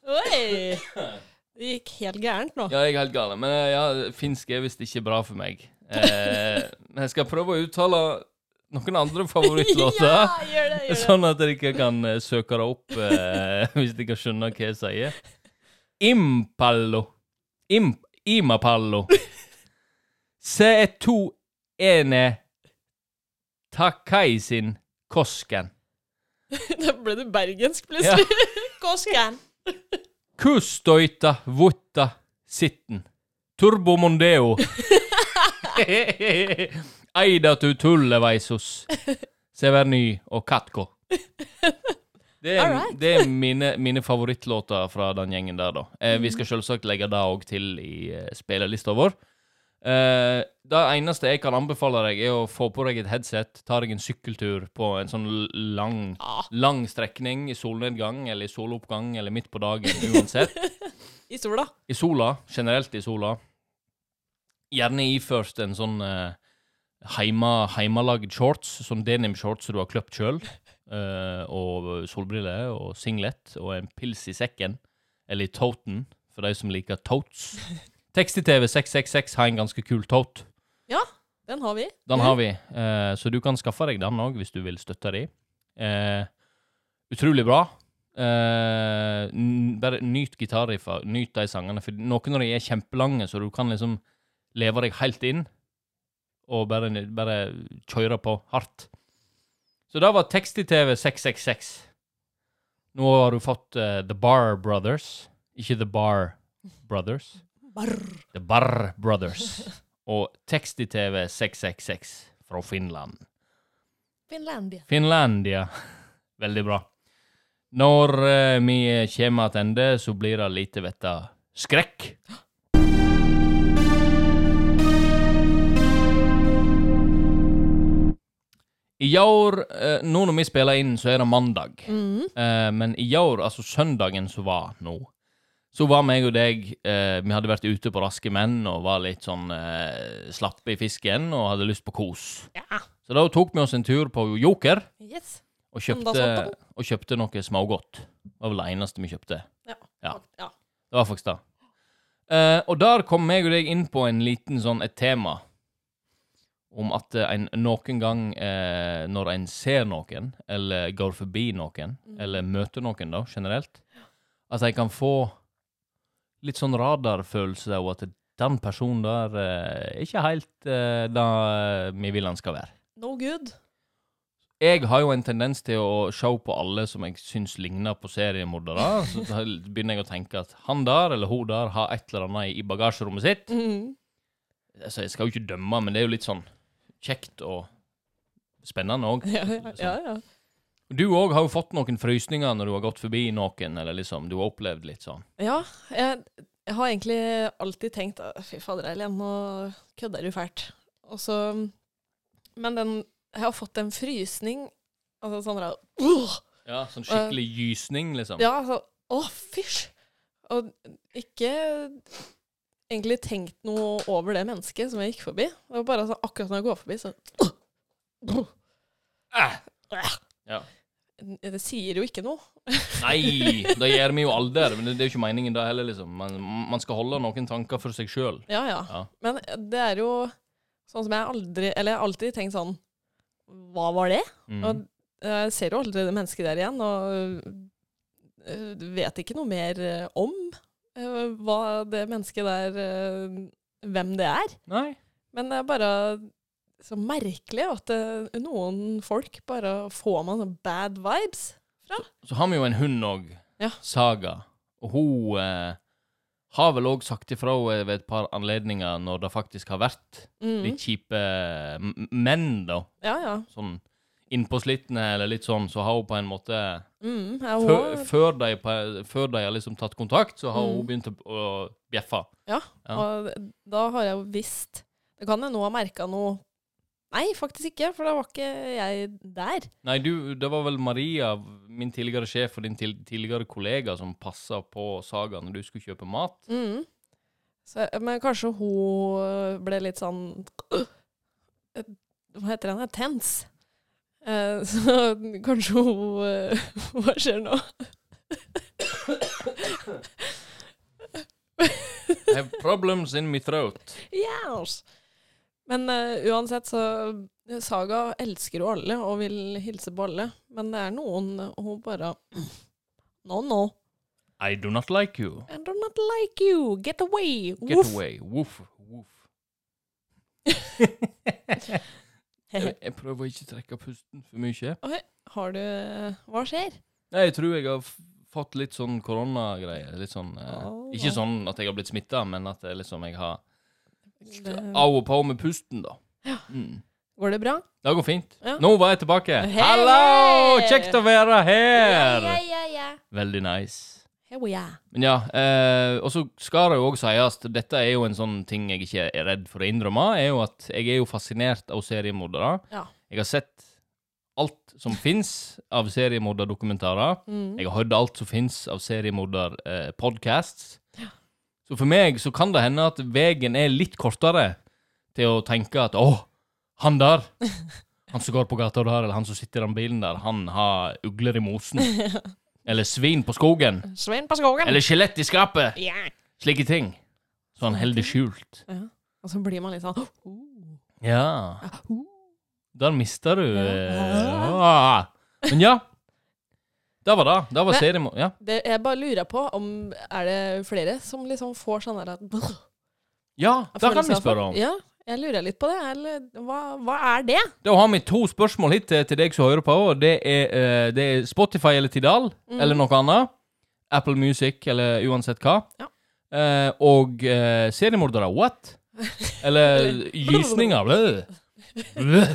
[SPEAKER 2] Oi! Det gikk helt gærent nå.
[SPEAKER 1] Ja, jeg er helt gal. Men eh, ja, finsk er visst ikke bra for meg. Eh, men jeg skal prøve å uttale noen andre
[SPEAKER 2] Ja,
[SPEAKER 1] favorittlåter.
[SPEAKER 2] gjør det, gjør det.
[SPEAKER 1] Sånn at dere kan eh, søke det opp eh, hvis dere skjønner hva jeg sier. Impallo. Im imapallo. E Se2 ene E takaisin kosken.
[SPEAKER 2] Da ble du bergensk
[SPEAKER 1] Ja.
[SPEAKER 2] plutselig. Koskan.
[SPEAKER 1] Kustoita vutta sitten. Turbo mondeo. Eida tu tulleveisos. Severny og Katko. Det er,
[SPEAKER 2] Alright.
[SPEAKER 1] det er mine, mine favorittlåter fra den gjengen der, da. Eh, vi skal selvsagt legge det òg til i eh, spillelista vår. Eh, det eneste jeg kan anbefale deg, er å få på deg et headset, ta deg en sykkeltur på en sånn l- lang
[SPEAKER 2] Ja,
[SPEAKER 1] lang strekning i solnedgang eller i soloppgang eller midt på dagen, uansett.
[SPEAKER 2] I sola.
[SPEAKER 1] I sola, generelt i sola. Gjerne iført en sånn eh, heima, heimalagd shorts, sånn denim-shorts som du har kløpt sjøl, og solbriller og singlet og en pils i sekken, eller i toten, for de som liker totes. Tekst-TV 666 har en ganske kul tote.
[SPEAKER 2] Den har vi.
[SPEAKER 1] Den har vi, eh, så du kan skaffe deg den òg hvis du vil støtte de. Eh, utrolig bra. Eh, n- bare nyt gitarriffa, nyt de sangene. For noen av de er kjempelange, så du kan liksom leve deg helt inn. Og bare, bare kjøre på hardt. Så det var tekst-TV 666. Nå har du fått eh, The Bar Brothers. Ikke The Bar Brothers.
[SPEAKER 2] Barr.
[SPEAKER 1] The Barr Brothers og Tekst-TV 666 fra Finland.
[SPEAKER 2] Finlandia.
[SPEAKER 1] Finlandia. Veldig bra. Når eh, vi kommer tilbake, så blir det lite vetta skrekk. I år, eh, nå når vi spiller inn, så er det mandag.
[SPEAKER 2] Mm.
[SPEAKER 1] Eh, men i år, altså søndagen som var nå, så var meg og deg eh, Vi hadde vært ute på Raske menn og var litt sånn eh, slappe i fisken og hadde lyst på kos.
[SPEAKER 2] Ja.
[SPEAKER 1] Så da tok vi oss en tur på Joker
[SPEAKER 2] Yes.
[SPEAKER 1] Og
[SPEAKER 2] Som da
[SPEAKER 1] kjøpte,
[SPEAKER 2] solgte
[SPEAKER 1] og kjøpte noe smågodt. Det var vel det eneste vi kjøpte. Ja.
[SPEAKER 2] ja.
[SPEAKER 1] Det var faktisk det. Eh, og der kom meg og deg inn på en liten sånn et tema om at eh, en noen gang eh, når en ser noen, eller går forbi noen,
[SPEAKER 2] Mm.
[SPEAKER 1] eller møter noen da, generelt, at en kan få litt sånn radarfølelse av at den personen der eh, er ikke helt eh, det vi vil han skal være.
[SPEAKER 2] No good.
[SPEAKER 1] Jeg har jo en tendens til å se på alle som jeg syns ligner på seriemordere. Så da begynner jeg å tenke at han der eller hun der har et eller annet i bagasjerommet sitt.
[SPEAKER 2] Mhm.
[SPEAKER 1] Altså, jeg skal jo ikke dømme, men det er jo litt sånn kjekt og spennende òg.
[SPEAKER 2] Ja, ja, ja, ja.
[SPEAKER 1] Du òg har jo fått noen frysninger når du har gått forbi noen, eller liksom du har opplevd litt sånn.
[SPEAKER 2] ja jeg, jeg har egentlig alltid tenkt «Å, Fy fader, Eileen, nå kødder du fælt. Og så Men den Jeg har fått en frysning. Altså sånn der «Åh!»
[SPEAKER 1] Ja, Sånn skikkelig gysning, liksom.
[SPEAKER 2] Ja, altså Å, fysj! Og ikke egentlig tenkt noe over det mennesket som jeg gikk forbi. Det var bare sånn akkurat når jeg går forbi, så
[SPEAKER 1] Æh. Ah. Ja.
[SPEAKER 2] Eh, Det sier jo ikke noe.
[SPEAKER 1] Nei, det gjør vi jo aldri. Men det, det er jo ikke meningen da heller, liksom. Man, man skal holde noen tanker for seg sjøl.
[SPEAKER 2] Ja, ja.
[SPEAKER 1] Ja.
[SPEAKER 2] Men det er jo sånn som jeg aldri Eller jeg har alltid tenkt sånn Hva var det? eh,
[SPEAKER 1] Mm.
[SPEAKER 2] Jeg ser jo aldri det mennesket der igjen, og øh, vet ikke noe mer øh, om øh, hva det mennesket der øh, Hvem det er.
[SPEAKER 1] Nei.
[SPEAKER 2] Men det er bare så merkelig at øh, noen folk bare får man sånn bad vibes.
[SPEAKER 1] Så har vi jo en hund òg,
[SPEAKER 2] Ja.
[SPEAKER 1] Saga. Og hun eh, har vel òg sagt ifra eh, ved et par anledninger når det faktisk har vært
[SPEAKER 2] Mm.
[SPEAKER 1] litt kjipe eh, m- m- menn, da.
[SPEAKER 2] Ja, ja.
[SPEAKER 1] Sånn innpåslitne eller litt sånn, så har hun på en måte
[SPEAKER 2] Mm, jeg
[SPEAKER 1] Før,
[SPEAKER 2] også-
[SPEAKER 1] før, de, på- før de har liksom tatt kontakt, så har hun
[SPEAKER 2] Mm.
[SPEAKER 1] begynt å, å bjeffe. Ja.
[SPEAKER 2] Og da har jeg jo visst Det kan jeg nå ha merka noe Nei, faktisk ikke, for da var ikke jeg der.
[SPEAKER 1] Nei, du, det var vel Maria, min tidligere sjef og din til, tidligere kollega, som passa på Saga når du skulle kjøpe mat.
[SPEAKER 2] Mm. Så, men kanskje hun ble litt sånn øh, Hva heter den? her? Tens. Eh, så kanskje hun eh, Hva skjer nå?
[SPEAKER 1] I have problems in my throat.
[SPEAKER 2] Yes! Men eh, uansett så Saga elsker jo alle og vil hilse på alle. Men det er noen hun bare No, no.
[SPEAKER 1] I do not like you.
[SPEAKER 2] I do not like you. Get away.
[SPEAKER 1] Get
[SPEAKER 2] Woof.
[SPEAKER 1] away. Woof, woof. jeg, jeg prøver å ikke trekke pusten for mye.
[SPEAKER 2] Har du eh, Hva skjer?
[SPEAKER 1] Nei, jeg tror jeg har f- fått litt sånn koronagreier. Litt sånn eh,
[SPEAKER 2] Au,
[SPEAKER 1] Ikke
[SPEAKER 2] au.
[SPEAKER 1] sånn at jeg har blitt smitta, men at jeg liksom jeg har
[SPEAKER 2] Det,
[SPEAKER 1] av og på med pusten, da. Mm.
[SPEAKER 2] Eh, går det bra?
[SPEAKER 1] Det går fint.
[SPEAKER 2] Ja.
[SPEAKER 1] Nå var jeg tilbake.
[SPEAKER 2] Hei!
[SPEAKER 1] Hallo! Kjekt å være her!
[SPEAKER 2] Ja, ja, ja.
[SPEAKER 1] Veldig nice.
[SPEAKER 2] Here we are.
[SPEAKER 1] Men ja, eh, og så skal det jo òg sies, dette er jo en sånn ting jeg ikke er redd for å innrømme, er jo at jeg er jo fascinert av seriemordere.
[SPEAKER 2] Ja.
[SPEAKER 1] Jeg har sett alt som fins av seriemorderdokumentarer.
[SPEAKER 2] Mm.
[SPEAKER 1] Jeg har hørt alt som fins av seriemorderpodcasts. Så for meg så kan det hende at veien er litt kortere til å tenke at åh, han der, han som går på gata der, eller han som sitter i den bilen der, han har ugler i mosen. Eller svin på skogen.
[SPEAKER 2] Svein på skogen.
[SPEAKER 1] Eller skjelett i skapet.
[SPEAKER 2] Ja.
[SPEAKER 1] Slike ting. Så han holder det skjult.
[SPEAKER 2] Ja. Og så blir man litt sånn oh.
[SPEAKER 1] Ja.
[SPEAKER 2] oh.
[SPEAKER 1] Der mister du
[SPEAKER 2] Ja.
[SPEAKER 1] eh, ah. Men ja. Det var det. Det var
[SPEAKER 2] Men-
[SPEAKER 1] serien ja.
[SPEAKER 2] det, Jeg bare lurer på om Er det flere som liksom får sånn der at
[SPEAKER 1] ja, det kan
[SPEAKER 2] følelse
[SPEAKER 1] vi
[SPEAKER 2] av-
[SPEAKER 1] spørre om.
[SPEAKER 2] Ja, jeg lurer litt på det. Eller hva, hva er det?
[SPEAKER 1] Da har vi to spørsmål hit til, til deg som hører på. Og det er, eh, det er Spotify eller Tidal,
[SPEAKER 2] Mm.
[SPEAKER 1] eller noe annet. Apple Music eller uansett hva.
[SPEAKER 2] Ja.
[SPEAKER 1] Eh, og eh, seriemordere what? Eller gysninger. Bløh. Bløh.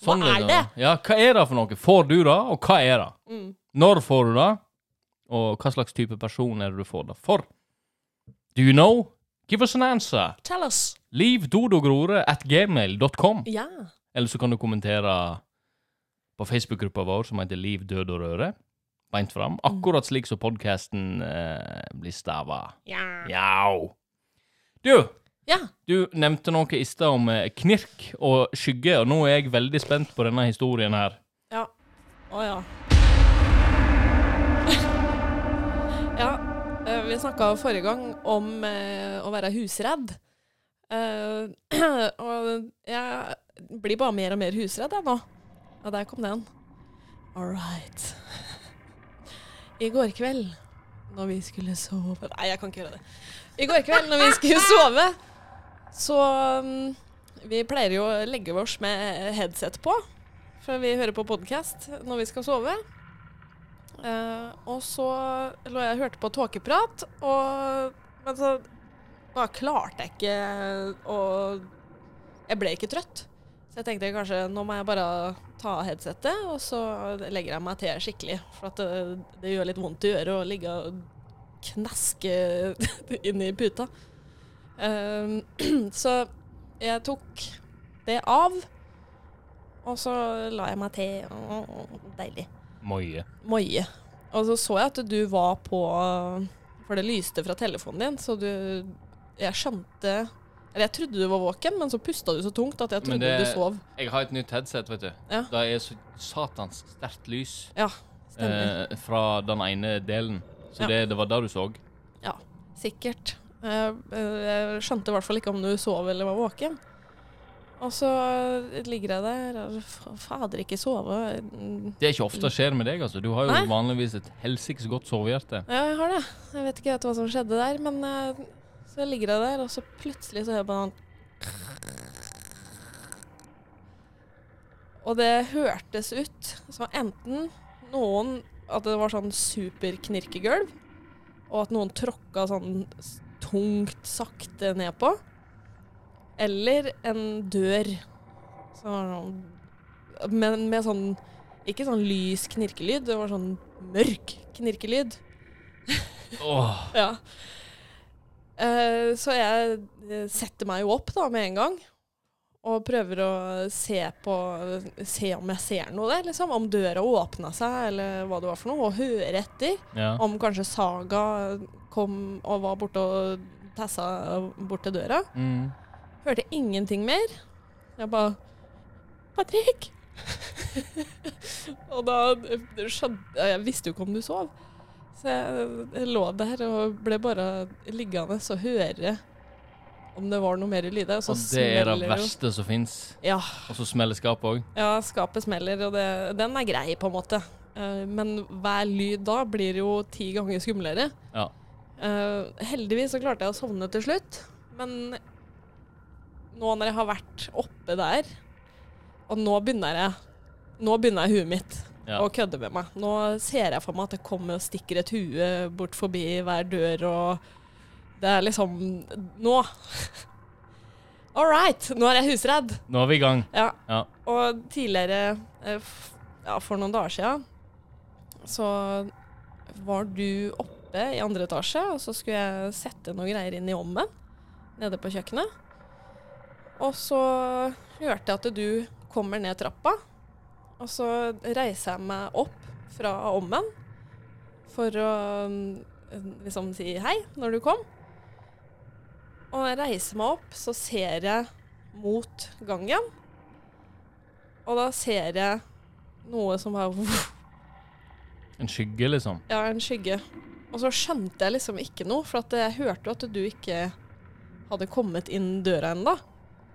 [SPEAKER 1] Sånn
[SPEAKER 2] Hva er
[SPEAKER 1] da. Ja, hva er det for noe? Får du det, og hva er det?
[SPEAKER 2] Mm.
[SPEAKER 1] Når får du det, og hva slags type person er det du får det for? Do you know? Give us an answer.
[SPEAKER 2] Tell us.
[SPEAKER 1] Livdodogrore at gmail.com.
[SPEAKER 2] Ja.
[SPEAKER 1] Eller så kan du kommentere på Facebook-gruppa vår som heter Liv, død og røre. Beint fram.
[SPEAKER 2] Mm.
[SPEAKER 1] Akkurat slik som podkasten eh, blir stava.
[SPEAKER 2] Ja.
[SPEAKER 1] Mjau. Du,
[SPEAKER 2] ja.
[SPEAKER 1] du nevnte noe i stad om eh, knirk og skygge, og nå er jeg veldig spent på denne historien her.
[SPEAKER 2] Ja. Å ja. ja, eh, vi snakka forrige gang om eh, å være husredd. Eh, og jeg blir bare mer og mer husredd, jeg nå. Ja, der kom den. All right. I går kveld, når vi skulle sove Nei, jeg kan ikke gjøre det. I går kveld, når vi skulle sove, så mm, Vi pleier jo å legge oss med headset på. For vi hører på podkast når vi skal sove. Eh, og så lå jeg og hørte på tåkeprat, og Men så bare klarte jeg ikke å Jeg ble ikke trøtt. Så jeg tenkte kanskje nå må jeg bare ta av headsetet, og så legger jeg meg til skikkelig. For at det, det gjør litt vondt i øret å ligge og knaske inn i puta. Eh, så jeg tok det av. Og så la jeg meg til. Åh, Deilig.
[SPEAKER 1] Moie.
[SPEAKER 2] Moie. Og så så jeg at du var på For det lyste fra telefonen din, så du Jeg skjønte Eller jeg trodde du var våken, men så pusta du så tungt at jeg
[SPEAKER 1] Men
[SPEAKER 2] trodde
[SPEAKER 1] det-
[SPEAKER 2] du sov.
[SPEAKER 1] Jeg har et nytt headset, vet du.
[SPEAKER 2] Ja.
[SPEAKER 1] Det er så satans sterkt lys
[SPEAKER 2] Ja, stemmer.
[SPEAKER 1] eh, fra den ene delen. Så
[SPEAKER 2] Ja.
[SPEAKER 1] det, det var det du så.
[SPEAKER 2] Sikkert. Jeg, jeg skjønte i hvert fall ikke om du sov eller var våken. Og så ligger jeg der og fa- Fader, ikke sove.
[SPEAKER 1] Det er ikke ofte det skjer med deg, altså. Du har jo
[SPEAKER 2] Mm. Nei.
[SPEAKER 1] vanligvis et helsikes godt sovehjerte.
[SPEAKER 2] Ja, jeg har det. Jeg vet ikke helt hva som skjedde der, men eh, så ligger jeg der, og så plutselig så hører jeg på den Og det hørtes ut som enten noen At det var sånn superknirkegulv, og at noen tråkka sånn s- tungt, sakte nedpå. Eller en dør. Sånn, men med sånn Ikke sånn lys knirkelyd, det var sånn mørk knirkelyd.
[SPEAKER 1] Åh,
[SPEAKER 2] Ja. Eh, så jeg eh, setter meg jo opp da med en gang. Og prøver å se på Se om jeg ser noe der, liksom. Om døra åpna seg, eller hva det var for noe. Og høre etter.
[SPEAKER 1] ja.
[SPEAKER 2] Om kanskje Saga kom og var borte og tassa bort til døra.
[SPEAKER 1] Mm.
[SPEAKER 2] Hørte ingenting mer. Jeg bare Patrick! og da skjønte Jeg visste jo ikke om du sov. Så jeg, jeg lå der og ble bare liggende og høre om det var noe mer lyd. Og så
[SPEAKER 1] Og det er det
[SPEAKER 2] smeller jo-
[SPEAKER 1] verste som fins.
[SPEAKER 2] Ja,
[SPEAKER 1] Og så smeller skapet òg.
[SPEAKER 2] ja, skapet smeller, og det, den er grei, på en måte. Eh, Men hver lyd da blir jo ti ganger skumlere.
[SPEAKER 1] Ja.
[SPEAKER 2] Eh, heldigvis så klarte jeg å sovne til slutt, men nå når jeg har vært oppe der, og nå begynner jeg Nå begynner huet mitt
[SPEAKER 1] Ja.
[SPEAKER 2] å kødde med meg. Nå ser jeg for meg at det kommer og stikker et hue bort forbi hver dør, og det er liksom Nå! All right! Nå er jeg husredd.
[SPEAKER 1] Nå er vi i gang.
[SPEAKER 2] Ja,
[SPEAKER 1] Ja.
[SPEAKER 2] og tidligere, eh, f- ja, for noen dager siden, så var du oppe i andre etasje, og så skulle jeg sette noen greier inn i ommen, nede på kjøkkenet. Og så hørte jeg at du kommer ned trappa, og så reiser jeg meg opp fra ommen for å mm, liksom si hei når du kom. Og når jeg reiser meg opp, så ser jeg mot gangen. Og da ser jeg noe som var
[SPEAKER 1] En skygge, liksom.
[SPEAKER 2] Ja, en skygge. Og så skjønte jeg liksom ikke noe, for at jeg hørte jo at du ikke hadde kommet inn døra ennå.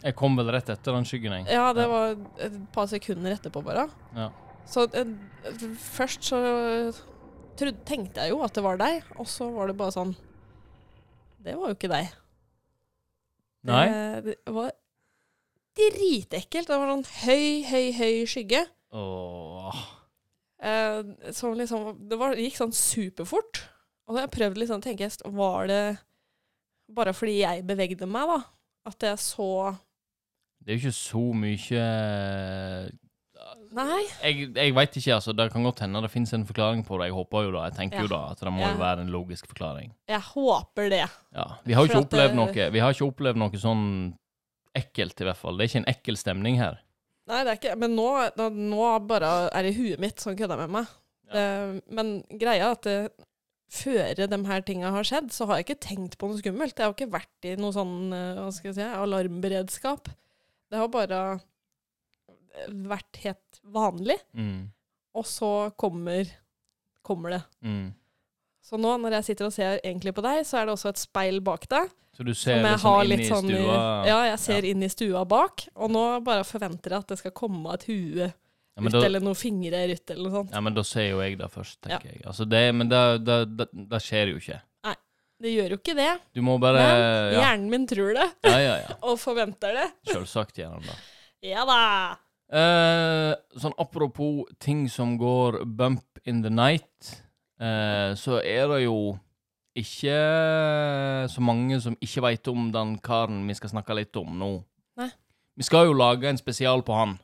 [SPEAKER 1] Jeg kom vel rett etter den skyggen, jeg.
[SPEAKER 2] Ja, det var et par sekunder etterpå bare.
[SPEAKER 1] Ja.
[SPEAKER 2] Så eh, først så trodde, tenkte jeg jo at det var deg, og så var det bare sånn Det var jo ikke deg.
[SPEAKER 1] Nei?
[SPEAKER 2] Det, det var dritekkelt. Det var sånn høy, høy, høy skygge.
[SPEAKER 1] Åh.
[SPEAKER 2] Eh, som liksom, det var, gikk sånn superfort. Og da har jeg prøvd liksom, å tenke, var det bare fordi jeg bevegde meg, da? At jeg så
[SPEAKER 1] Det er jo ikke så mye
[SPEAKER 2] Nei.
[SPEAKER 1] Jeg, jeg veit ikke, altså. Det kan godt hende det fins en forklaring på det. Jeg håper jo da, jeg tenker
[SPEAKER 2] Ja.
[SPEAKER 1] jo da at det må
[SPEAKER 2] Ja.
[SPEAKER 1] jo være en logisk forklaring.
[SPEAKER 2] Jeg håper det.
[SPEAKER 1] Ja. Vi har jo
[SPEAKER 2] For
[SPEAKER 1] ikke
[SPEAKER 2] at eh, det-
[SPEAKER 1] opplevd noe Vi har ikke opplevd noe sånn ekkelt, i hvert fall. Det er ikke en ekkel stemning her.
[SPEAKER 2] Nei, det er ikke Men nå, da, nå bare er det huet mitt som kødder med meg.
[SPEAKER 1] Ja.
[SPEAKER 2] Eh, men greia er at det, før de her tinga har skjedd, så har jeg ikke tenkt på noe skummelt. Jeg har ikke vært i noe sånn eh, hva skal jeg si, alarmberedskap. Det har bare vært helt eh, vanlig.
[SPEAKER 1] Mm.
[SPEAKER 2] og så kommer, kommer det.
[SPEAKER 1] Mm.
[SPEAKER 2] Så nå når jeg sitter og ser egentlig på deg, så er det også et speil bak deg.
[SPEAKER 1] Så du
[SPEAKER 2] Som
[SPEAKER 1] ser
[SPEAKER 2] jeg
[SPEAKER 1] liksom
[SPEAKER 2] har
[SPEAKER 1] inn
[SPEAKER 2] litt
[SPEAKER 1] i
[SPEAKER 2] sånn i,
[SPEAKER 1] stua.
[SPEAKER 2] ja, jeg ser inn i stua bak, og nå bare forventer jeg at det skal komme et hue
[SPEAKER 1] Ja, men
[SPEAKER 2] ut,
[SPEAKER 1] da,
[SPEAKER 2] eller noen fingre ut, eller noe sånt.
[SPEAKER 1] ja, men da ser jo jeg det først, tenker jeg. Altså det, men det, det, det, det skjer jo ikke.
[SPEAKER 2] Det gjør jo ikke det,
[SPEAKER 1] Du må bare
[SPEAKER 2] men
[SPEAKER 1] Ja,
[SPEAKER 2] hjernen min tror det,
[SPEAKER 1] ja, ja. ja.
[SPEAKER 2] og forventer det.
[SPEAKER 1] Selvsagt gjør han det.
[SPEAKER 2] Ja da!
[SPEAKER 1] Eh, sånn apropos ting som går bump in the night, eh, så er det jo ikke så mange som ikke veit om den karen vi skal snakke litt om nå.
[SPEAKER 2] Nei.
[SPEAKER 1] Vi skal jo lage en spesial på han.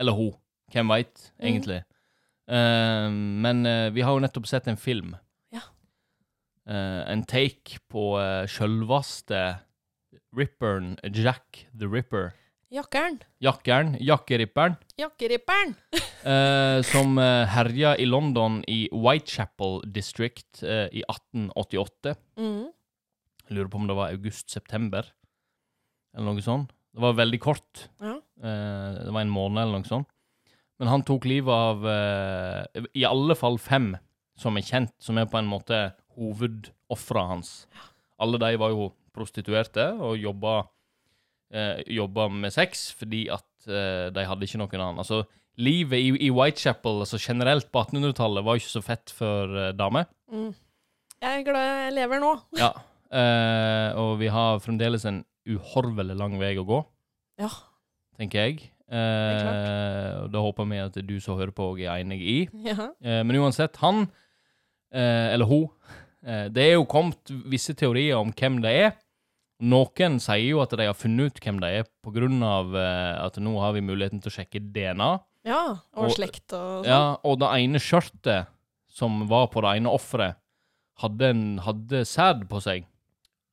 [SPEAKER 1] Eller hun. Hvem veit,
[SPEAKER 2] Mm.
[SPEAKER 1] egentlig. Eh, men eh, vi har jo nettopp sett en film.
[SPEAKER 2] Ja.
[SPEAKER 1] Eh, en take på uh, sjølvaste Ripperen Jack the Ripper.
[SPEAKER 2] Jakkeren.
[SPEAKER 1] Jakkeren. Jakkeripperen.
[SPEAKER 2] Jakkeripperen.
[SPEAKER 1] Eh, som eh, herja i London i Whitechapel District eh, i 1888.
[SPEAKER 2] Mm.
[SPEAKER 1] Jeg lurer på om det var august-september, eller noe sånt. Det var veldig kort.
[SPEAKER 2] Ja.
[SPEAKER 1] Eh, det var en måned eller noe sånt. Men han tok livet av eh, i alle fall fem som er kjent, som er på en måte hovedofra hans. Alle de var jo prostituerte og jobba, eh, jobba med sex fordi at eh, de hadde ikke noen annen. Altså, livet i, i Whitechapel altså generelt på 1800-tallet var jo ikke så fett for eh, damer.
[SPEAKER 2] Mm. Jeg er glad jeg lever nå.
[SPEAKER 1] Ja. Eh, og vi har fremdeles en uhorvelig lang vei å gå,
[SPEAKER 2] Ja.
[SPEAKER 1] tenker jeg.
[SPEAKER 2] er
[SPEAKER 1] Eh, og det håper vi at du som hører på, også er enig i.
[SPEAKER 2] Ja.
[SPEAKER 1] Eh, men uansett, han, eh, eller hun eh, Det er jo kommet visse teorier om hvem det er. Noen sier jo at de har funnet ut hvem de er, på grunn av eh, at nå har vi muligheten til å sjekke DNA.
[SPEAKER 2] ja. Og,
[SPEAKER 1] Og-
[SPEAKER 2] slekt og sånn.
[SPEAKER 1] Ja, og det ene skjørtet som var på det ene offeret, hadde, en- hadde sæd på seg.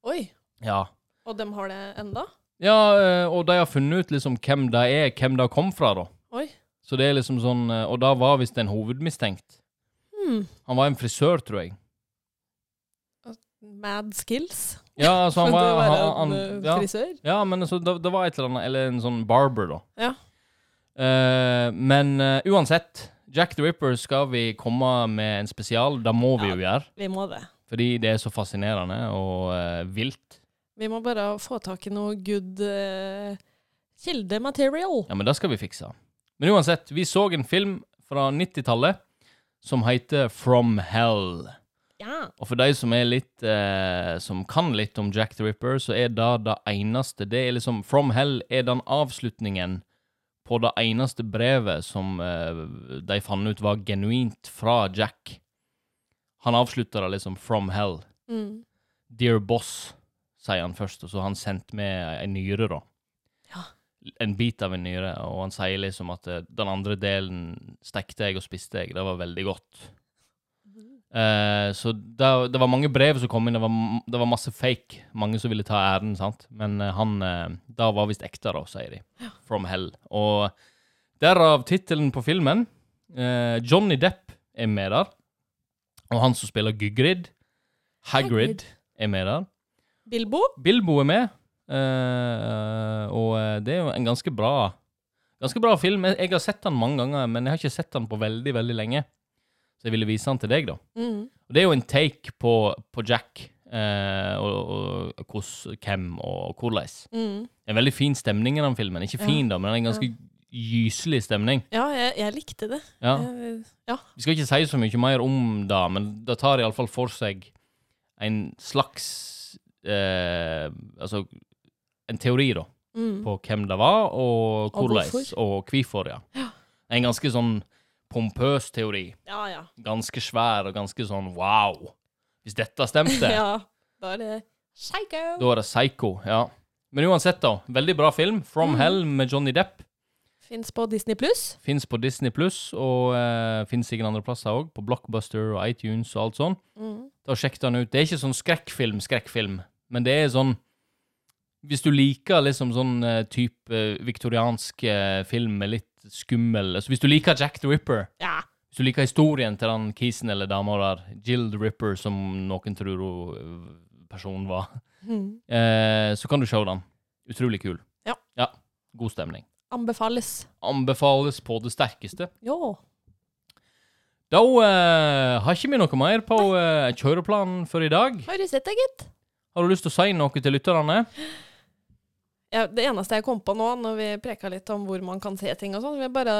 [SPEAKER 2] Oi.
[SPEAKER 1] Ja.
[SPEAKER 2] Og dem har det enda?
[SPEAKER 1] Ja, eh, og de har funnet ut liksom hvem de er, hvem de kom fra, da.
[SPEAKER 2] Oi.
[SPEAKER 1] Så det er liksom sånn eh, Og da var visst en hovedmistenkt.
[SPEAKER 2] Hmm.
[SPEAKER 1] Han var en frisør, tror jeg.
[SPEAKER 2] Mad skills.
[SPEAKER 1] Ja, altså han
[SPEAKER 2] Men
[SPEAKER 1] var,
[SPEAKER 2] det var
[SPEAKER 1] han,
[SPEAKER 2] en eh,
[SPEAKER 1] ja.
[SPEAKER 2] frisør.
[SPEAKER 1] ja, men altså, det, det var et eller annet Eller en sånn barber, da.
[SPEAKER 2] Ja.
[SPEAKER 1] Eh, men eh, uansett, Jack the Ripper skal vi komme med en spesial. Det må vi
[SPEAKER 2] Ja.
[SPEAKER 1] jo gjøre.
[SPEAKER 2] Vi må det.
[SPEAKER 1] Fordi det er så fascinerende og eh, vilt.
[SPEAKER 2] Vi må bare få tak i noe good eh, kildematerial.
[SPEAKER 1] Ja, men det skal vi fikse. Men uansett, vi så en film fra 90-tallet som heter From Hell.
[SPEAKER 2] Ja.
[SPEAKER 1] Og for de som er litt eh, Som kan litt om Jack the Ripper, så er det det eneste Det er liksom From Hell er den avslutningen på det eneste brevet som eh, de fant ut var genuint fra Jack. Han avslutter det liksom From Hell.
[SPEAKER 2] Mm.
[SPEAKER 1] Dear boss, sier han først, og så har han sendt med en nyre, da.
[SPEAKER 2] Ja.
[SPEAKER 1] En bit av en nyre, og han sier liksom at eh, den andre delen stekte jeg og spiste jeg, det var veldig godt. Eh, så det, det var mange brev som kom inn, det var, m- det var masse fake, mange som ville ta æren, sant. Men eh, han, uh, det var visst ekte, da, sier de. From hell. Og derav tittelen på filmen. Eh, Johnny Depp er med der, og han som spiller Gygrid, Hagrid,
[SPEAKER 2] Hagrid.
[SPEAKER 1] er med der.
[SPEAKER 2] Bilbo?
[SPEAKER 1] Bilbo er med, eh, og eh, det er jo en ganske bra Ganske bra film. Jeg, jeg har sett den mange ganger, men jeg har ikke sett den på veldig, veldig lenge. Så jeg ville vise den til deg, da.
[SPEAKER 2] Mm.
[SPEAKER 1] Og det er jo en take på, på Jack, eh, og, og hvordan, hvem og hvordan.
[SPEAKER 2] Mm.
[SPEAKER 1] Det er en veldig fin stemning i den filmen. Ikke fin, da, men det er en ganske gyselig stemning.
[SPEAKER 2] Ja, jeg, jeg likte det.
[SPEAKER 1] Ja.
[SPEAKER 2] Jeg- ja.
[SPEAKER 1] Vi skal ikke si så mye mer om det, men det tar iallfall for seg en slags eh, Altså en teori, da,
[SPEAKER 2] Mm.
[SPEAKER 1] på hvem det var, og
[SPEAKER 2] Og
[SPEAKER 1] hvordan,
[SPEAKER 2] hvorfor.
[SPEAKER 1] og hvorfor, ja. En ganske sånn pompøs teori.
[SPEAKER 2] ja, ja.
[SPEAKER 1] Ganske svær og ganske sånn wow. Hvis dette stemte,
[SPEAKER 2] Ja, da er det psycho.
[SPEAKER 1] da er det psycho. Ja. Men uansett, da. Veldig bra film. 'From Hell' med Johnny Depp.
[SPEAKER 2] Fins på Disney pluss.
[SPEAKER 1] Fins på Disney Pluss, og uh, fins sikkert andre plasser òg. På Blockbuster og iTunes og alt sånn.
[SPEAKER 2] Mm.
[SPEAKER 1] Da sjekket han ut. Det er ikke sånn skrekkfilm, skrekkfilm, men det er sånn Hvis du liker liksom sånn eh, type eh, viktoriansk eh, film med litt skummel altså Hvis du liker Jack the Ripper,
[SPEAKER 2] Ja.
[SPEAKER 1] hvis du liker historien til den kisen eller dama der, Jill the Ripper, som noen tror hun eh, personen var,
[SPEAKER 2] Mm.
[SPEAKER 1] eh, så kan du se den. Utrolig kul.
[SPEAKER 2] Ja.
[SPEAKER 1] ja. God stemning.
[SPEAKER 2] Anbefales.
[SPEAKER 1] Anbefales på det sterkeste.
[SPEAKER 2] Ja.
[SPEAKER 1] Da eh, har ikke vi noe mer på eh, kjøreplanen for i dag.
[SPEAKER 2] Har du sett deg, gitt?
[SPEAKER 1] Har du lyst til å si noe til lytterne?
[SPEAKER 2] Ja, det eneste jeg kom på nå, når vi preka litt om hvor man kan se ting og sånn, vil jeg bare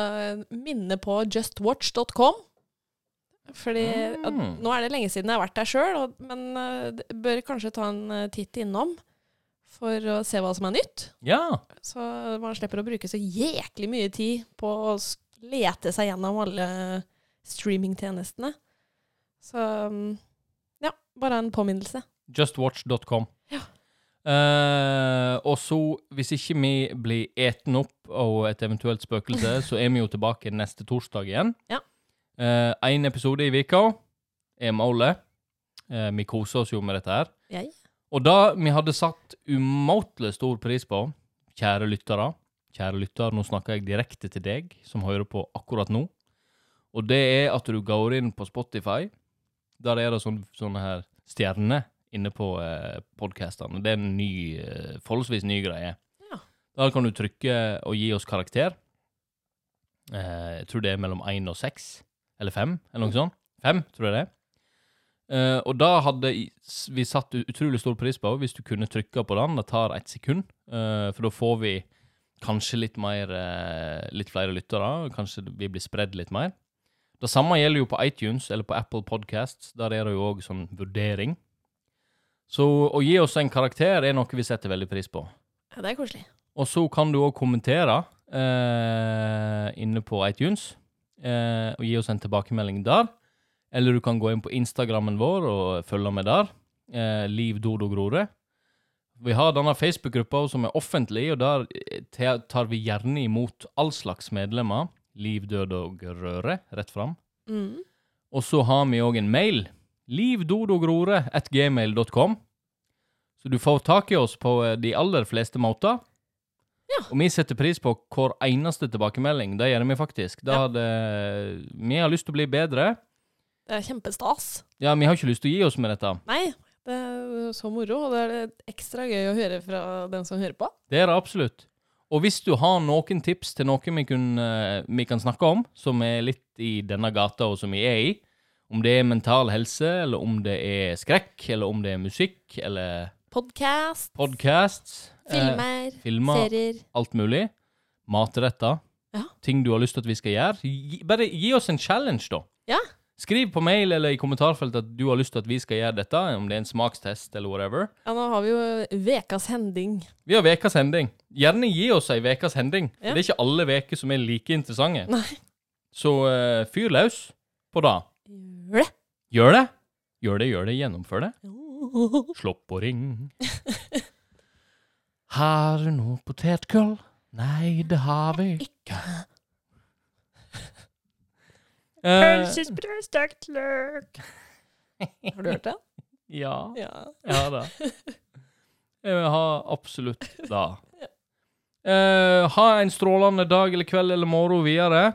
[SPEAKER 2] minne på justwatch.com. Fordi at
[SPEAKER 1] Mm.
[SPEAKER 2] Nå er det lenge siden jeg har vært der sjøl, men eh, d- bør kanskje ta en eh, titt innom for å se hva som er nytt.
[SPEAKER 1] Ja.
[SPEAKER 2] Så man slipper å bruke så jæklig mye tid på å s- lete seg gjennom alle streamingtjenestene. Så mm, ja, bare en påminnelse.
[SPEAKER 1] Justwatch.com.
[SPEAKER 2] Ja.
[SPEAKER 1] Eh, og så, hvis ikke vi blir eten opp av et eventuelt spøkelse, så er vi jo tilbake neste torsdag igjen.
[SPEAKER 2] Ja.
[SPEAKER 1] Én episode i vika er målet. Eh, vi koser oss jo med dette her.
[SPEAKER 2] Jeg.
[SPEAKER 1] Og det vi hadde satt umåtelig stor pris på, kjære lyttere Kjære lytter, nå snakker jeg direkte til deg som hører på akkurat nå. Og det er at du går inn på Spotify. Der er det sånn, sånne her stjerner inne på eh, podkastene. Det er en ny, eh, forholdsvis ny greie.
[SPEAKER 2] Ja.
[SPEAKER 1] Der kan du trykke og gi oss karakter. Eh, jeg tror det er mellom én og seks. Eller fem, eller noe sånt. Fem, tror jeg det er. Eh, og da hadde i- s- vi satt u- utrolig stor pris på hvis du kunne trykke på den. Det tar ett sekund, eh, for da får vi kanskje litt mer eh, Litt flere lyttere. Kanskje vi blir spredd litt mer. Det samme gjelder jo på iTunes eller på Apple Podcasts. Der er det jo òg sånn vurdering. Så å gi oss en karakter er noe vi setter veldig pris på.
[SPEAKER 2] Ja, det er koselig.
[SPEAKER 1] Og så kan du òg kommentere eh, inne på iTunes eh, og gi oss en tilbakemelding der. Eller du kan gå inn på Instagrammen vår og følge med der. Eh, Liv Dodo Grorud. Vi har denne Facebook-gruppa som er offentlig, og der eh, te- tar vi gjerne imot all slags medlemmer. Liv, død og røre, rett fram.
[SPEAKER 2] Mm.
[SPEAKER 1] Og så har vi òg en mail. livdodogrore.gmail.com. Så du får tak i oss på eh, de aller fleste måter.
[SPEAKER 2] Ja.
[SPEAKER 1] Og vi setter pris på hver eneste tilbakemelding. Det gjør vi faktisk. Da
[SPEAKER 2] Ja.
[SPEAKER 1] hadde, vi har lyst til å bli bedre.
[SPEAKER 2] Det er kjempestas.
[SPEAKER 1] Ja, vi har ikke lyst til å gi oss med dette.
[SPEAKER 2] Nei, det er jo så moro, og det er det ekstra gøy å høre fra den som hører på.
[SPEAKER 1] Det er det absolutt. Og hvis du har noen tips til noe vi, kun, eh, vi kan snakke om, som er litt i denne gata, og som vi er i, om det er mental helse, eller om det er skrekk, eller om det er musikk, eller
[SPEAKER 2] Podkast,
[SPEAKER 1] podcasts eh,
[SPEAKER 2] filmer,
[SPEAKER 1] filmer,
[SPEAKER 2] serier.
[SPEAKER 1] alt mulig, matretter,
[SPEAKER 2] Ja.
[SPEAKER 1] ting du har lyst til at vi skal gjøre, gi, bare gi oss en challenge, da.
[SPEAKER 2] Ja.
[SPEAKER 1] Skriv på mail eller i kommentarfeltet at du har lyst til at vi skal gjøre dette, om det er en smakstest eller whatever.
[SPEAKER 2] Ja, nå har vi jo Vekas hending.
[SPEAKER 1] Vi har vekas hending. Gjerne gi oss ei vekas hending.
[SPEAKER 2] Ja.
[SPEAKER 1] for Det er ikke alle veker som er like interessante.
[SPEAKER 2] Nei.
[SPEAKER 1] Så eh, fyr løs på det.
[SPEAKER 2] Gjør det.
[SPEAKER 1] Gjør det. Gjør det, gjør det. Gjennomfør det.
[SPEAKER 2] Jo.
[SPEAKER 1] Slopp og ring. Har du noe potetgull? Nei, det har vi ikke. Eh,
[SPEAKER 2] Pølsesprø stekt løk. Har du hørt det?
[SPEAKER 1] ja,
[SPEAKER 2] Ja.
[SPEAKER 1] jeg har det. Jeg har absolutt det. Eh, ha en strålende dag eller kveld eller morgen videre.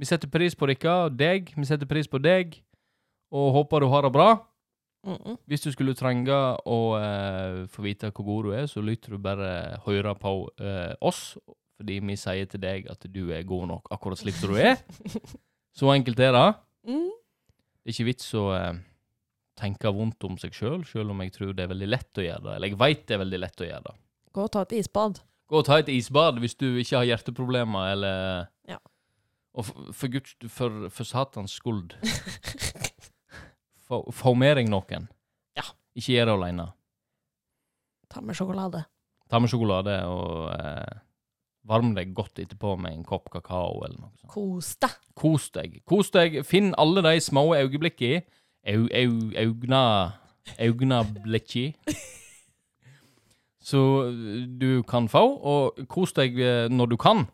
[SPEAKER 1] Vi setter pris på dere og deg. Vi setter pris på deg, og håper du har det bra.
[SPEAKER 2] Mm -mm.
[SPEAKER 1] Hvis du skulle trenge å eh, få vite hvor god du er, så lytter du bare høre på eh, oss, fordi vi sier til deg at du er god nok akkurat slik som du e? er. Så enkelt er det.
[SPEAKER 2] Mm.
[SPEAKER 1] Det er ikke vits å eh, tenke vondt om seg sjøl, sjøl om jeg tror det er veldig lett å gjøre det. Eller jeg veit det er veldig lett å gjøre det.
[SPEAKER 2] Gå og ta et isbad.
[SPEAKER 1] Gå og ta et isbad hvis du ikke har hjerteproblemer, eller
[SPEAKER 2] Ja.
[SPEAKER 1] Og for, for, Guds, for, for satans skyld, få, få med deg noen.
[SPEAKER 2] Ja.
[SPEAKER 1] Ikke gjør det aleine.
[SPEAKER 2] ta med sjokolade.
[SPEAKER 1] Ta med sjokolade og eh, varm deg godt etterpå med en kopp kakao eller noe sånt.
[SPEAKER 2] Kos deg.
[SPEAKER 1] Kos deg. Kos deg. Finn alle de små øyeblikka. Au, au, augna Augna blikki. Så du kan få, og kos deg eh, når du kan.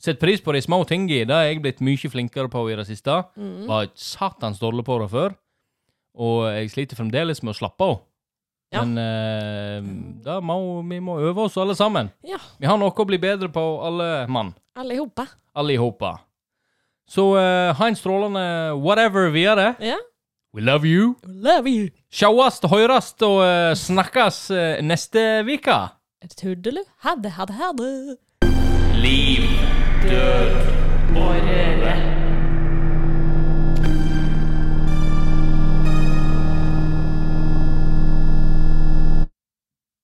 [SPEAKER 1] Sett pris på de små tingi. Det er jeg blitt mye flinkere på i det siste.
[SPEAKER 2] Mm.
[SPEAKER 1] Var satans dårlig på det før, og jeg sliter fremdeles med å slappe av.
[SPEAKER 2] Ja.
[SPEAKER 1] Men eh, da må vi må øve oss alle sammen.
[SPEAKER 2] Ja,
[SPEAKER 1] Vi har noe å bli bedre på, alle mann.
[SPEAKER 2] alle i hopa.
[SPEAKER 1] Alle i hopa. Så eh, ha en strålende whatever videre.
[SPEAKER 2] Ja.
[SPEAKER 1] We love you.
[SPEAKER 2] Love you.
[SPEAKER 1] Sjåast, høyrast og eh, snakkes eh, neste uke.
[SPEAKER 2] Tuddelu. Ha det, ha det, ha det.
[SPEAKER 1] Liv, død og røre.